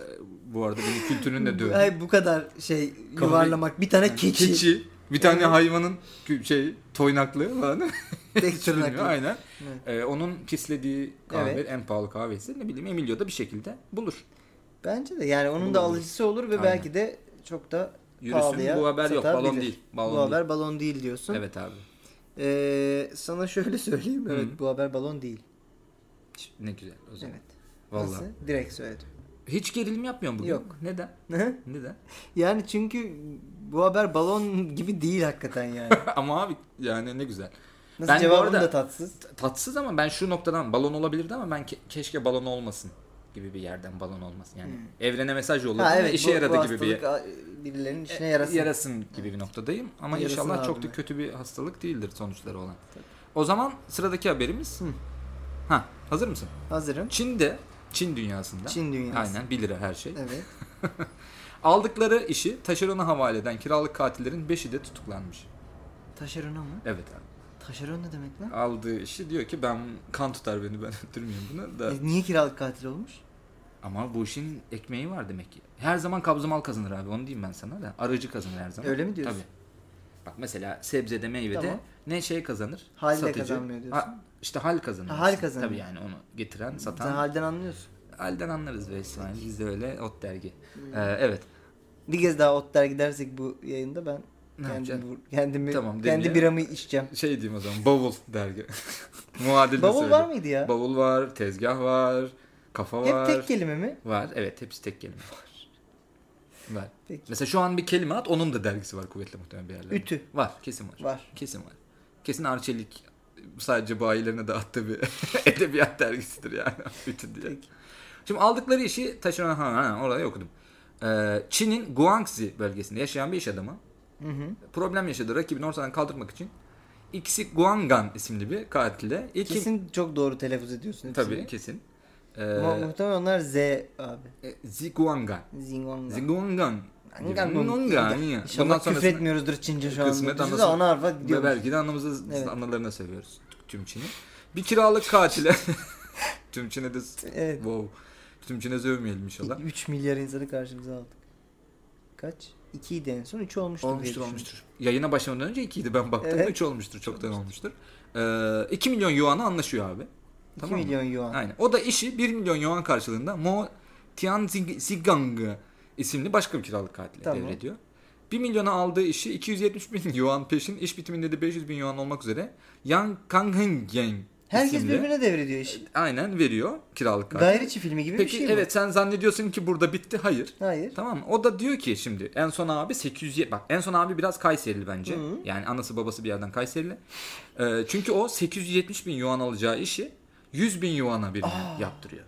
B: bu arada benim kültürünü de dövdüm.
A: Ay bu kadar şey yuvarlamak. Bir tane keçi.
B: Keçi. Bir tane hayvanın kü- şey toynaklığı falan. *laughs*
A: Tek tırnaklı.
B: Aynen.
A: Evet.
B: E, onun pislediği kahve
A: Evet.
B: en pahalı kahvesi ne bileyim Emilio da bir şekilde bulur.
A: Bence de yani onun da alıcısı olur ve
B: Aynen.
A: belki de çok da
B: Yürüsün
A: pahalıya
B: bu haber yok balon
A: satabilir.
B: değil. Balon
A: bu
B: değil.
A: haber balon değil diyorsun.
B: Evet abi.
A: Ee, sana şöyle *laughs* söyleyeyim. Evet bu haber balon değil.
B: Ne güzel o zaman.
A: Evet.
B: Vallahi.
A: Nasıl? Direkt söyledim. *laughs*
B: Hiç gerilim yapmıyorsun bugün.
A: Yok.
B: Neden? Neden? *laughs*
A: yani çünkü bu haber balon gibi değil hakikaten
B: *laughs*
A: yani.
B: ama abi yani ne güzel.
A: Nasıl
B: Ben bu
A: cevabın
B: arada-
A: da tatsız.
B: Tatsız ama ben şu noktadan balon olabilirdi ama ben ke- keşke balon olmasın gibi bir yerden balon olmasın. Yani evrene mesaj yolladı
A: Hmm. Ha
B: ve
A: evet
B: işe
A: bu,
B: yaradı
A: bu
B: gibi bir E,
A: hastalık, a- birilerinin işine yarasın.
B: yarasın gibi bir noktadayım. Ama
A: Yarasın
B: inşallah çok
A: abime.
B: da kötü bir hastalık değildir sonuçları olan. O zaman sıradaki haberimiz. Ha, hazır mısın?
A: Hazırım.
B: Çin'de, Çin dünyasında.
A: Çin dünyası.
B: Aynen 1 lira her şey.
A: Evet.
B: Aldıkları işi taşerona havale eden kiralık katillerin 5'i de tutuklanmış.
A: Taşerona mı?
B: Evet abi.
A: Taşeron ne demek lan?
B: Aldığı işi diyor ki ben kan tutar beni ben *laughs* öldürmüyorum bunu da.
A: E, niye kiralık katil olmuş?
B: Ama bu işin ekmeği var demek ki. Her zaman kabzımal kazanır abi onu diyeyim ben sana da. Aracı kazanır her zaman.
A: Öyle mi diyorsun?
B: Tabii. Bak mesela sebzede meyvede
A: Tamam.
B: ne şey kazanır?
A: Hal de
B: Satıcı.
A: kazanmıyor diyorsun.
B: Ha, işte hal kazanır.
A: Ha, hal
B: aslında.
A: kazanıyor.
B: Tabii yani onu getiren, satan.
A: Sen halden anlıyorsun.
B: Halden anlarız be İsmail. Biz de öyle ot dergi. Ee, evet.
A: Bir kez daha ot der gidersek bu yayında ben
B: Ne
A: kendim,
B: yapacaksın?
A: bu- kendimi,
B: Tamam,
A: kendi
B: demliğe-
A: biramı içeceğim.
B: Şey diyeyim o zaman. Bavul dergi. *laughs* Muadilini
A: Bavul
B: söyleyeyim.
A: var mıydı ya?
B: Bavul var, tezgah var, kafa
A: Hep
B: var.
A: tek kelime mi?
B: Var. Evet hepsi tek kelime. Var. Var.
A: Peki.
B: Mesela şu an bir kelime at onun da dergisi var kuvvetli muhtemelen bir yerlerde.
A: Ütü.
B: Var kesin var.
A: Var.
B: Kesin var. Kesin Arçelik sadece bayilerine dağıttığı bir *laughs* edebiyat dergisidir yani. *laughs* Ütü diye.
A: Peki.
B: Şimdi aldıkları işi taşıran ha, ha orada okudum. Ee, Çin'in Guangxi bölgesinde yaşayan bir iş adamı
A: Hı hı.
B: problem yaşadı. Rakibini ortadan kaldırmak için Xi Guanggan isimli bir katille. İlk
A: Kesin çok doğru telaffuz ediyorsun. hepsini.
B: Tabii kesin. Ee,
A: Ama muhtemelen onlar Z abi.
B: e, Xi Guanggan.
A: Zingonga.
B: Zingongan.
A: Zingongan.
B: Zingongan. Bundan
A: İnşallah küfür
B: sonrasını
A: etmiyoruzdur Çince şu
B: Kısmet
A: anda. Biz de
B: anlasın.
A: ana harfa
B: ve
A: gidiyoruz.
B: belki de anamızı
A: Evet.
B: analarına seviyoruz tüm Çin'i. Bir
A: *laughs*
B: kiralık katile. tüm Çin'e de
A: Evet.
B: wow. Tüm Çin'e sövmeyelim inşallah.
A: 3 milyar insanı karşımıza aldık. Kaç? 2 idi en son 3 olmuştur. diye
B: Olmuştur
A: düşünüyorum.
B: olmuştur. Yayına başlamadan önce 2'ydi ben baktım.
A: Evet.
B: 3 olmuştur çoktan olmuştur. Ee, 2 milyon yuan'a anlaşıyor abi.
A: 2
B: Tamam mı?
A: milyon yuan.
B: Aynen. O da işi 1 milyon yuan karşılığında Mo Tianzigang isimli başka bir kiralık katile
A: Tamam.
B: devrediyor. 1 milyona aldığı işi 270 bin yuan peşin, iş bitiminde de 500 bin yuan olmak üzere Yang Kanghengeng
A: Herkes
B: isimli-
A: birbirine devrediyor işi.
B: aynen veriyor kiralık katil.
A: Daire içi filmi gibi
B: Peki
A: bir şey mi?
B: evet sen zannediyorsun ki burada bitti. Hayır.
A: Hayır.
B: Tamam mı? O da diyor ki şimdi en son abi 800 bak en son abi biraz Kayserili bence.
A: Hı.
B: Yani anası babası bir yerden Kayserili. Ee, çünkü o 870 bin yuan alacağı işi 100 bin yuana birine yaptırıyor.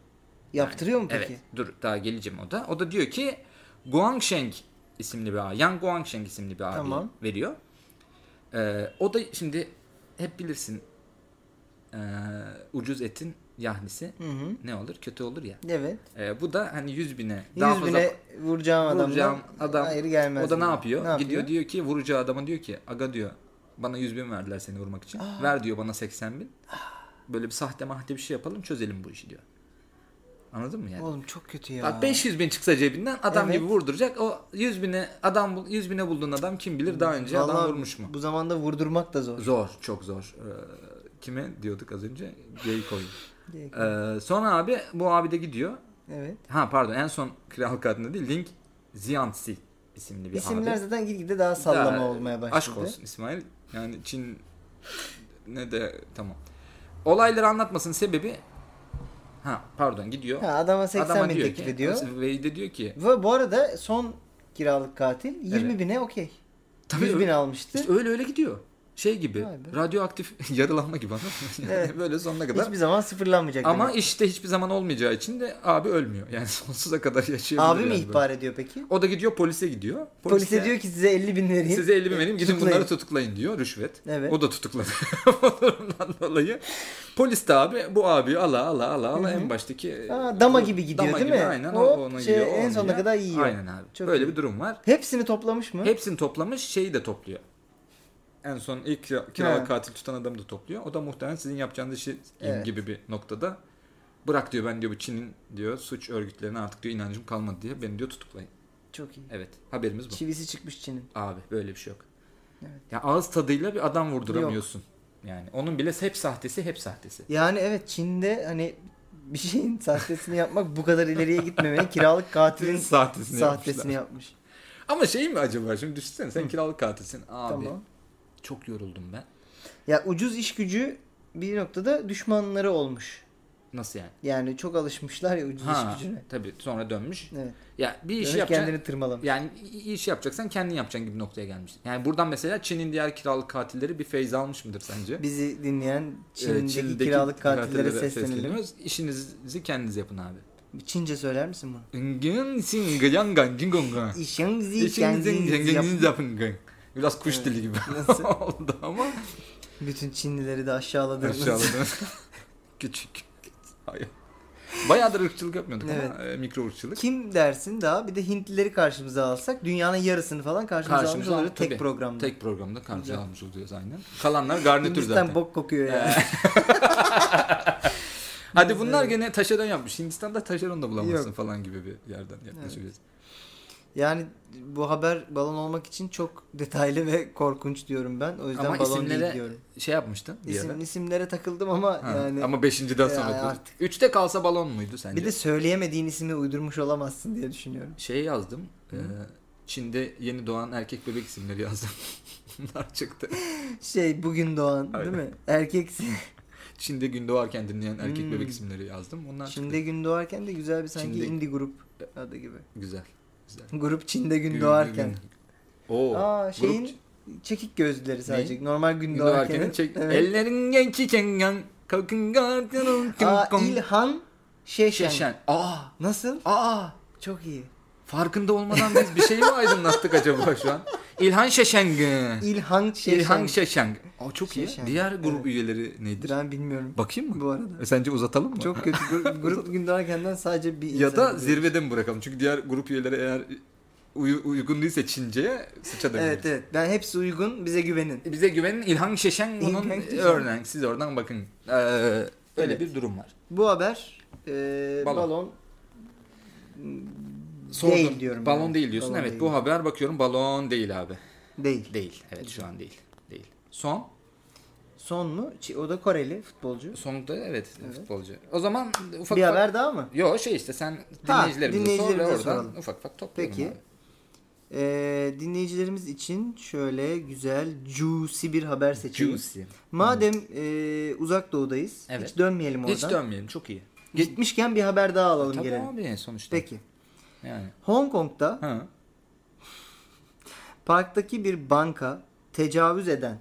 A: Yaptırıyor mu peki?
B: Evet dur daha geleceğim o da. O da diyor ki Guangsheng isimli bir abi. Yang Guangsheng isimli bir abi
A: Tamam.
B: veriyor. Ee, o da şimdi hep bilirsin ee, ucuz etin yahnisi
A: Hı hı.
B: ne olur kötü olur ya.
A: Evet.
B: Ee, bu da hani 100 bine daha
A: 100
B: fazla
A: bine vuracağım adamdan
B: vuracağım adam
A: hayır gelmez.
B: o da ne
A: diyor.
B: yapıyor? Gidiyor diyor ki vuracağı adama diyor ki aga diyor bana 100 bin verdiler seni vurmak için.
A: Ah.
B: Ver diyor bana 80 bin. Böyle bir sahte mahte bir şey yapalım çözelim bu işi diyor. Anladın mı yani?
A: Oğlum çok kötü ya.
B: Bak 500 bin çıksa cebinden adam
A: Evet.
B: gibi vurduracak. O 100 bine adam bul- 100 bine bulduğun adam kim bilir daha önce
A: Vallahi
B: adam vurmuş mu?
A: Bu zamanda vurdurmak da zor.
B: Zor, çok zor. Ee, kime diyorduk az önce? Gay koyun.
A: Gerek yok.
B: Ee, sonra abi bu abi de gidiyor.
A: Evet.
B: Ha pardon en son kral katında değil Link Ziyansi isimli bir
A: İsimler
B: abi.
A: zaten gitgide daha sallama
B: Daha-
A: olmaya başladı.
B: Aşk olsun İsmail. Yani Çin ne de tamam. Olayları anlatmasının sebebi ha pardon gidiyor.
A: Ha, adama 80
B: Adama
A: bin
B: diyor
A: teklif
B: ki,
A: ediyor.
B: Vey de diyor ki
A: Ve bu arada son kiralık katil 20
B: Evet.
A: bine okey.
B: Tabii
A: 100
B: öyle.
A: bin almıştı.
B: İşte öyle öyle gidiyor. Şey gibi
A: Vay be.
B: radyoaktif *laughs* yaralanma gibi anladın mı? Yani
A: Evet.
B: Böyle sonuna kadar.
A: Hiçbir şey zaman sıfırlanmayacak.
B: Ama
A: demek.
B: işte hiçbir zaman olmayacağı için de abi ölmüyor. Yani *laughs* sonsuza kadar yaşıyor.
A: abi mi ihbar ediyor peki?
B: O da gidiyor polise gidiyor.
A: Polise, diyor ki size 50 bin vereyim.
B: size 50 bin vereyim gidin
A: Tutuklayın.
B: bunları tutuklayın diyor rüşvet.
A: Evet.
B: O da *laughs* tutuklanıyor. O durumdan dolayı. Polis de abi bu abi ala ala ala ala
A: Hı hı.
B: en baştaki.
A: Aa, dama
B: bu-
A: gibi gidiyor
B: dama
A: değil
B: gibi,
A: mi?
B: Aynen
A: Hop,
B: o ona
A: şey,
B: gidiyor. o
A: en
B: ona
A: sonuna
B: gidiyor.
A: kadar yiyor.
B: Aynen abi.
A: Çok
B: Böyle
A: iyi.
B: bir durum var.
A: Hepsini toplamış mı?
B: Hepsini toplamış şeyi de topluyor. En son ilk kira,
A: He.
B: kiralık katil tutan adamı da topluyor. O da muhtemelen sizin yapacağınız işi
A: Evet.
B: gibi bir noktada bırak diyor ben diyor bu Çin'in diyor suç örgütlerine artık diyor inancım kalmadı diye beni diyor tutuklayın.
A: Çok iyi.
B: Evet haberimiz bu.
A: Çivisi çıkmış Çin'in.
B: Abi böyle bir şey yok.
A: Evet.
B: Ya ağız tadıyla bir adam vurduramıyorsun. Yani onun bile hep sahtesi hep sahtesi.
A: Yani evet Çin'de hani bir şeyin sahtesini yapmak bu kadar ileriye gitmemeli. Kiralık katilin
B: *laughs* sahtesini,
A: sahtesini yapmış.
B: Ama şey mi acaba şimdi düşünsene sen kiralık katilsin. Abi
A: Tamam.
B: çok yoruldum ben.
A: Ya ucuz iş gücü bir noktada düşmanları olmuş.
B: Nasıl yani?
A: Yani çok alışmışlar ya ucuz
B: Ha,
A: iş gücüne.
B: tabii sonra dönmüş.
A: Evet.
B: Ya bir iş
A: Dönüp
B: yapacaksın.
A: kendini tırmalamış.
B: Yani i- iş yapacaksan kendin yapacaksın gibi noktaya gelmişsin. Yani buradan mesela Çin'in diğer kiralık katilleri bir feyz almış mıdır sence?
A: Bizi dinleyen Çin'deki,
B: Ee,
A: kiralık katillere seslenelim.
B: sesleniyoruz. İşinizi kendiniz yapın abi.
A: Çince söyler misin bunu?
B: Ngın sin gyan gan jin gong gan.
A: İşinizi
B: İşinizi
A: kendiniz yapın.
B: kendiniz yapın gan. Biraz kuş
A: Evet.
B: dili gibi
A: Nasıl?
B: *laughs* oldu ama
A: Bütün Çinlileri de aşağıladınız.
B: aşağıladı. *laughs* Küçük. Hayır. Bayağıdır ırkçılık yapmıyorduk ama
A: Evet.
B: e, mikro ırkçılık.
A: Kim dersin daha bir de Hintlileri karşımıza alsak dünyanın yarısını falan karşımıza,
B: Karşımıza
A: almış
B: al-
A: oluruz tek
B: tabii.
A: programda.
B: Tek programda karşı
A: Güzel.
B: almış oluyoruz aynen. Kalanlar garnitür
A: Hindistan
B: zaten.
A: bok kokuyor yani.
B: Hadi bunlar gene taşeron yapmış. Hindistan'da taşeron da bulamazsın
A: Yok.
B: falan gibi bir yerden yaklaşıyoruz.
A: *laughs* yani bu haber balon olmak için çok detaylı ve korkunç diyorum ben. O yüzden
B: Ama
A: balon
B: isimlere-
A: değil diyorum.
B: Şey yapmıştın bir ara.
A: İsim, isimlere takıldım ama
B: Ha,
A: yani
B: ama 5.den
A: Ya
B: sonra.
A: artık.
B: 3'te kalsa balon muydu sence?
A: bir de söyleyemediğin ismi uydurmuş olamazsın diye düşünüyorum.
B: şey yazdım. e, Çin'de yeni doğan erkek bebek isimleri yazdım. *laughs* Bunlar çıktı.
A: Şey bugün doğan
B: Aynen.
A: değil mi? Erkeksin.
B: *laughs* Çin'de gün doğarken dinleyen erkek
A: Hmm.
B: bebek isimleri yazdım. Onlar
A: Çin'de
B: çıktı.
A: gün doğarken de güzel bir sanki
B: Çin'de-
A: indie grup adı gibi.
B: Güzel. Güzel.
A: Grup Çin'de gün,
B: Gün-
A: doğarken.
B: gün- Oo.
A: Aa
B: grup
A: şeyin çekik gözlüleri sadece. Normal gün,
B: Gün
A: doğarkenin.
B: doğarkenin çek.
A: Evet.
B: Ellerin genki kengen. Kalkın gardırın.
A: Aa, İlhan Şeşen.
B: Şeşen. Aa.
A: Nasıl?
B: Aa.
A: Çok
B: *laughs*
A: iyi.
B: Farkında olmadan biz bir şey mi aydınlattık acaba şu an? İlhan Şeşeng.
A: İlhan Şeşen.
B: İlhan Şeşeng. Aa, çok iyi.
A: Şeşeng.
B: Diğer grup
A: Evet.
B: üyeleri nedir?
A: Ben bilmiyorum
B: Bakayım mı?
A: bu arada.
B: E, Sence uzatalım mı?
A: Çok kötü.
B: *laughs*
A: Gru- Grup gün doğarkenden sadece bir
B: ya
A: insan
B: da
A: biliyorum.
B: zirvede mi bırakalım? Çünkü diğer grup üyeleri eğer uy- uygun değilse Çince'ye sıçabiliriz.
A: Evet evet. Ben hepsi uygun. Bize güvenin.
B: Bize güvenin İlhan Şeşen
A: İlhan
B: bunun
A: Şeşen.
B: örneği. Siz oradan bakın. Ee, öyle
A: Evet.
B: bir durum var.
A: Bu haber e,
B: Balon.
A: balon.
B: Sordum.
A: Değil diyorum
B: Balon
A: ben.
B: değil diyorsun.
A: Balon
B: evet
A: değil.
B: bu haber bakıyorum balon değil abi.
A: değil.
B: Değil. Evet şu an değil. Değil. Son.
A: Son mu? Çi- O da Koreli futbolcu.
B: Sonunda evet,
A: Evet.
B: futbolcu. O zaman ufak
A: bir
B: ufak-
A: haber daha mı?
B: Yo şey işte sen
A: Ha,
B: dinleyicilerimize sor ve
A: dinleyicilerimize
B: oradan
A: soralım.
B: ufak ufak toplayalım
A: Peki.
B: abi.
A: E, dinleyicilerimiz için şöyle güzel juicy bir haber seçelim.
B: Juicy.
A: Madem e, uzak doğudayız.
B: Evet.
A: Hiç dönmeyelim oradan.
B: Hiç dönmeyelim çok iyi.
A: Gitmişken bir haber daha alalım
B: Tabii
A: gelelim.
B: abi sonuçta.
A: Peki.
B: Yani.
A: Hong Kong'da
B: Ha.
A: parktaki bir banka tecavüz eden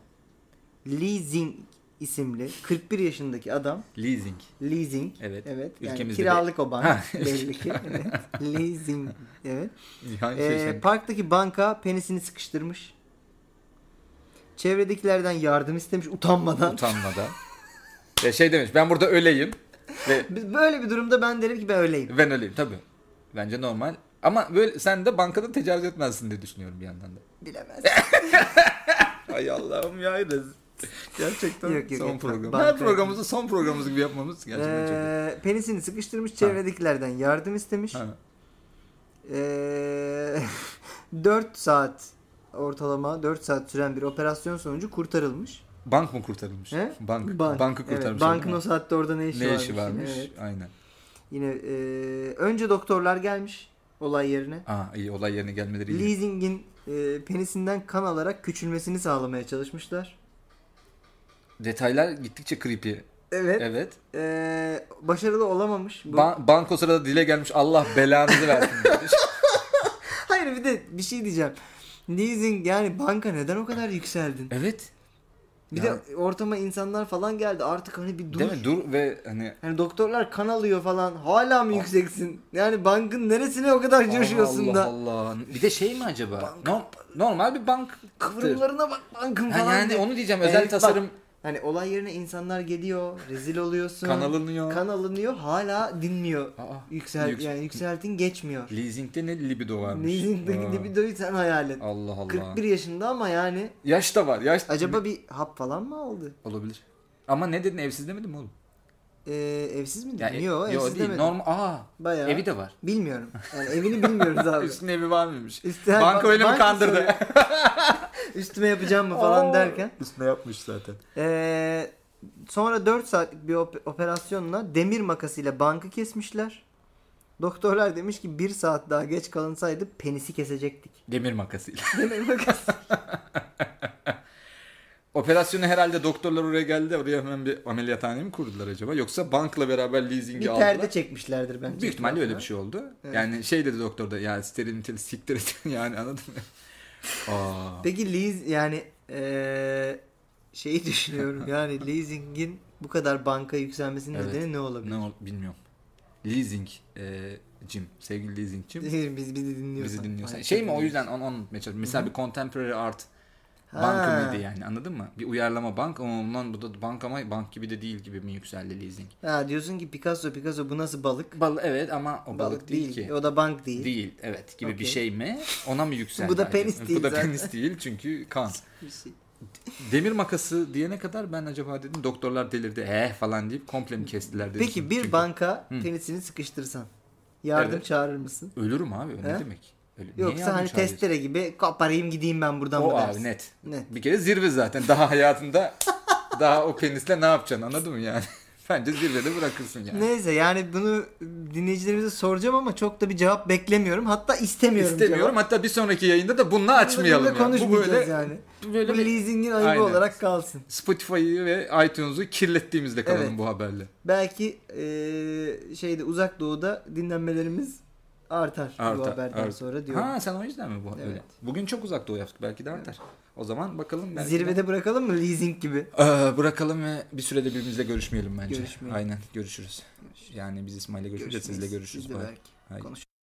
A: Lee Zing isimli 41 yaşındaki adam
B: Leasing.
A: leasing
B: Evet.
A: evet yani
B: Ülkemizde
A: kiralık o
B: Ha.
A: bank *laughs* belli ki evet. leasing
B: *laughs*
A: evet
B: Yani
A: Ee,
B: şey, sen-
A: parktaki banka penisini sıkıştırmış çevredekilerden yardım istemiş utanmadan
B: utanmadan. Ya şey demiş ben burada öleyim ve
A: Biz böyle bir durumda ben derim ki ben öyleyim
B: ben öleyim tabii. Bence normal. Ama böyle sen de bankada tecavüz etmezsin diye düşünüyorum bir yandan da.
A: bilemez
B: Ay Allah'ım ya Gerçekten
A: Yok, yok,
B: son
A: yok.
B: program.
A: Banka-
B: Her programımızı son programımız gibi yapmamız gerçekten çok iyi.
A: Ee, penisini sıkıştırmış çevredekilerden yardım istemiş
B: Ha.
A: Ee, *laughs* 4 saat ortalama 4 saat süren bir operasyon sonucu kurtarılmış.
B: Bank mı kurtarılmış?
A: He?
B: Bank.
A: Bank.
B: Bankı
A: Evet,
B: kurtarmış.
A: bankın o
B: adam.
A: saatte orada ne işi
B: ne
A: varmış?
B: işi varmış?
A: Evet.
B: Aynen.
A: Yine ee, önce doktorlar gelmiş olay yerine.
B: Aa iyi olay yerine gelmeleri iyi.
A: Leasing'in ee, penisinden kan alarak küçülmesini sağlamaya çalışmışlar.
B: Detaylar gittikçe creepy.
A: Evet.
B: Evet.
A: ee, başarılı olamamış. Bu...
B: Ba- bank o sırada dile gelmiş Allah belanızı versin *laughs* demiş.
A: Hayır bir de bir şey diyeceğim. Leasing yani banka neden o kadar yükseldin?
B: evet.
A: Bir
B: Ya-
A: de ortama insanlar falan geldi. Artık hani bir dur.
B: Değil mi? Dur ve hani
A: Hani doktorlar kan alıyor falan. Hala mı yükseksin? Yani bankın neresine o kadar coşuyorsun
B: Allah
A: da?
B: Allah. Bir de şey mi acaba? No- normal bir bank kıvrımları
A: Kıvrımlarına bak bankın falan.
B: yani
A: diye.
B: onu diyeceğim
A: Evet,
B: özel
A: bak.
B: tasarım
A: Hani olay yerine insanlar geliyor, rezil oluyorsun.
B: kan alınıyor.
A: Kan alınıyor, hala dinmiyor.
B: Aa,
A: Yüksel
B: yüks-
A: yani yükseltin geçmiyor.
B: Leasing'de ne libido varmış.
A: Leasing'deki
B: Aa.
A: libidoyu sen hayal et.
B: Allah Allah.
A: 41 yaşında ama yani
B: Yaş da var. Yaş
A: acaba bir hap falan mı aldı?
B: olabilir. Ama ne dedin evsiz demedin mi oğlum?
A: Ee, evsiz mi?
B: Ya,
A: Yani, Yok,
B: e-
A: evsiz
B: yo değil.
A: demedim.
B: Normal. Aa.
A: Bayağı.
B: Evi de var.
A: Bilmiyorum. Yani evini
B: *laughs*
A: bilmiyoruz abi.
B: Üstünde evi var mıymış?
A: Üstü-
B: banka öyle mi
A: banka
B: kandırdı?
A: soruyor. *laughs* Üstüme yapacağım mı falan derken.
B: Üstüne yapmış zaten.
A: Ee, sonra 4 saatlik bir op- operasyonla demir makasıyla bankı kesmişler. Doktorlar demiş ki 1 saat daha geç kalınsaydı
B: *laughs*
A: penisi kesecektik.
B: Demir makasıyla.
A: Demir makası.
B: Operasyonu herhalde doktorlar oraya geldi. Oraya hemen bir ameliyathane mi kurdular acaba? Yoksa bankla beraber leasing'i
A: Bir
B: aldılar.
A: perde çekmişlerdir bence.
B: Büyük ihtimalle öyle bir şey oldu. Yani şey dedi doktor da ya sterilitil siktir et *laughs* yani anladın
A: *laughs*
B: mı? Aa.
A: Peki lease yani eee şeyi düşünüyorum yani leasingin bu kadar banka yükselmesinin
B: Evet.
A: nedeni ne olabilir?
B: ne ol bilmiyorum. Leasing e, Jim. Sevgili leasingcim.
A: Biz bizi dinliyorsan.
B: Bizi dinliyorsan.
A: Aynen.
B: Şey mi o yüzden onu onu unutmaya çalışıyorum. Mesela bir contemporary art
A: Ha.
B: banka mıydı yani anladın mı? Bir uyarlama bank ama lan bu da bank ama bank gibi de değil gibi mi yükseldi leasing?
A: Ha diyorsun ki Picasso Picasso bu nasıl balık?
B: Bal evet ama o balık, değil, ki.
A: O da bank değil.
B: Değil evet gibi bir
A: Okey.
B: şey mi? Ona mı
A: *laughs*
B: yükseldi?
A: Bu da
B: acaba?
A: penis değil
B: Bu da
A: zaten.
B: penis değil çünkü kan.
A: Bir şey.
B: Demir makası diyene kadar ben acaba dedim doktorlar delirdi eh falan deyip komple mi kestiler dedim.
A: Peki bir
B: Çünkü
A: banka penisini sıkıştırsan yardım
B: Evet.
A: çağırır mısın?
B: Ölürüm abi o ne
A: He?
B: demek? Öyle, niye
A: Yoksa
B: yardım
A: Eh? hani
B: çağırıyorsun?
A: testere gibi koparayım gideyim ben buradan
B: O
A: mı
B: abi
A: dersin?
B: net.
A: Net.
B: Bir kere zirve zaten
A: *laughs*
B: daha hayatında daha o penisle ne yapacaksın anladın mı yani? *laughs* Bence zirvede bırakırsın yani.
A: Neyse yani bunu dinleyicilerimize soracağım ama çok da bir cevap beklemiyorum. Hatta istemiyorum.
B: İstemiyorum
A: cevap.
B: hatta bir sonraki yayında da
A: Bunu
B: bununla açmayalım
A: bununla
B: yani. Bu
A: konuşmayacağız
B: böyle,
A: yani.
B: bu
A: Bu
B: böyle bir
A: leasingin ayıbı
B: Aynen.
A: olarak kalsın.
B: Spotify'ı ve iTunes'u kirlettiğimizde kalalım
A: Evet.
B: bu haberle.
A: Belki eee, şeyde uzak doğuda dinlenmelerimiz artar, bu
B: Artar,
A: haberden
B: artar.
A: sonra diyorum.
B: Ha sen o yüzden mi bu?
A: Evet.
B: Öyle. Bugün çok uzak doğu yaptık belki de artar. O zaman bakalım. Belki de-
A: Zirvede bırakalım mı leasing gibi?
B: Ee, bırakalım ve bir sürede birbirimizle görüşmeyelim bence.
A: Görüşmeyelim.
B: Aynen görüşürüz. Yani biz İsmail'le görüşürüz, sizle görüşürüz.
A: Biz de
B: Bye.
A: belki
B: Haydi.
A: konuşuruz.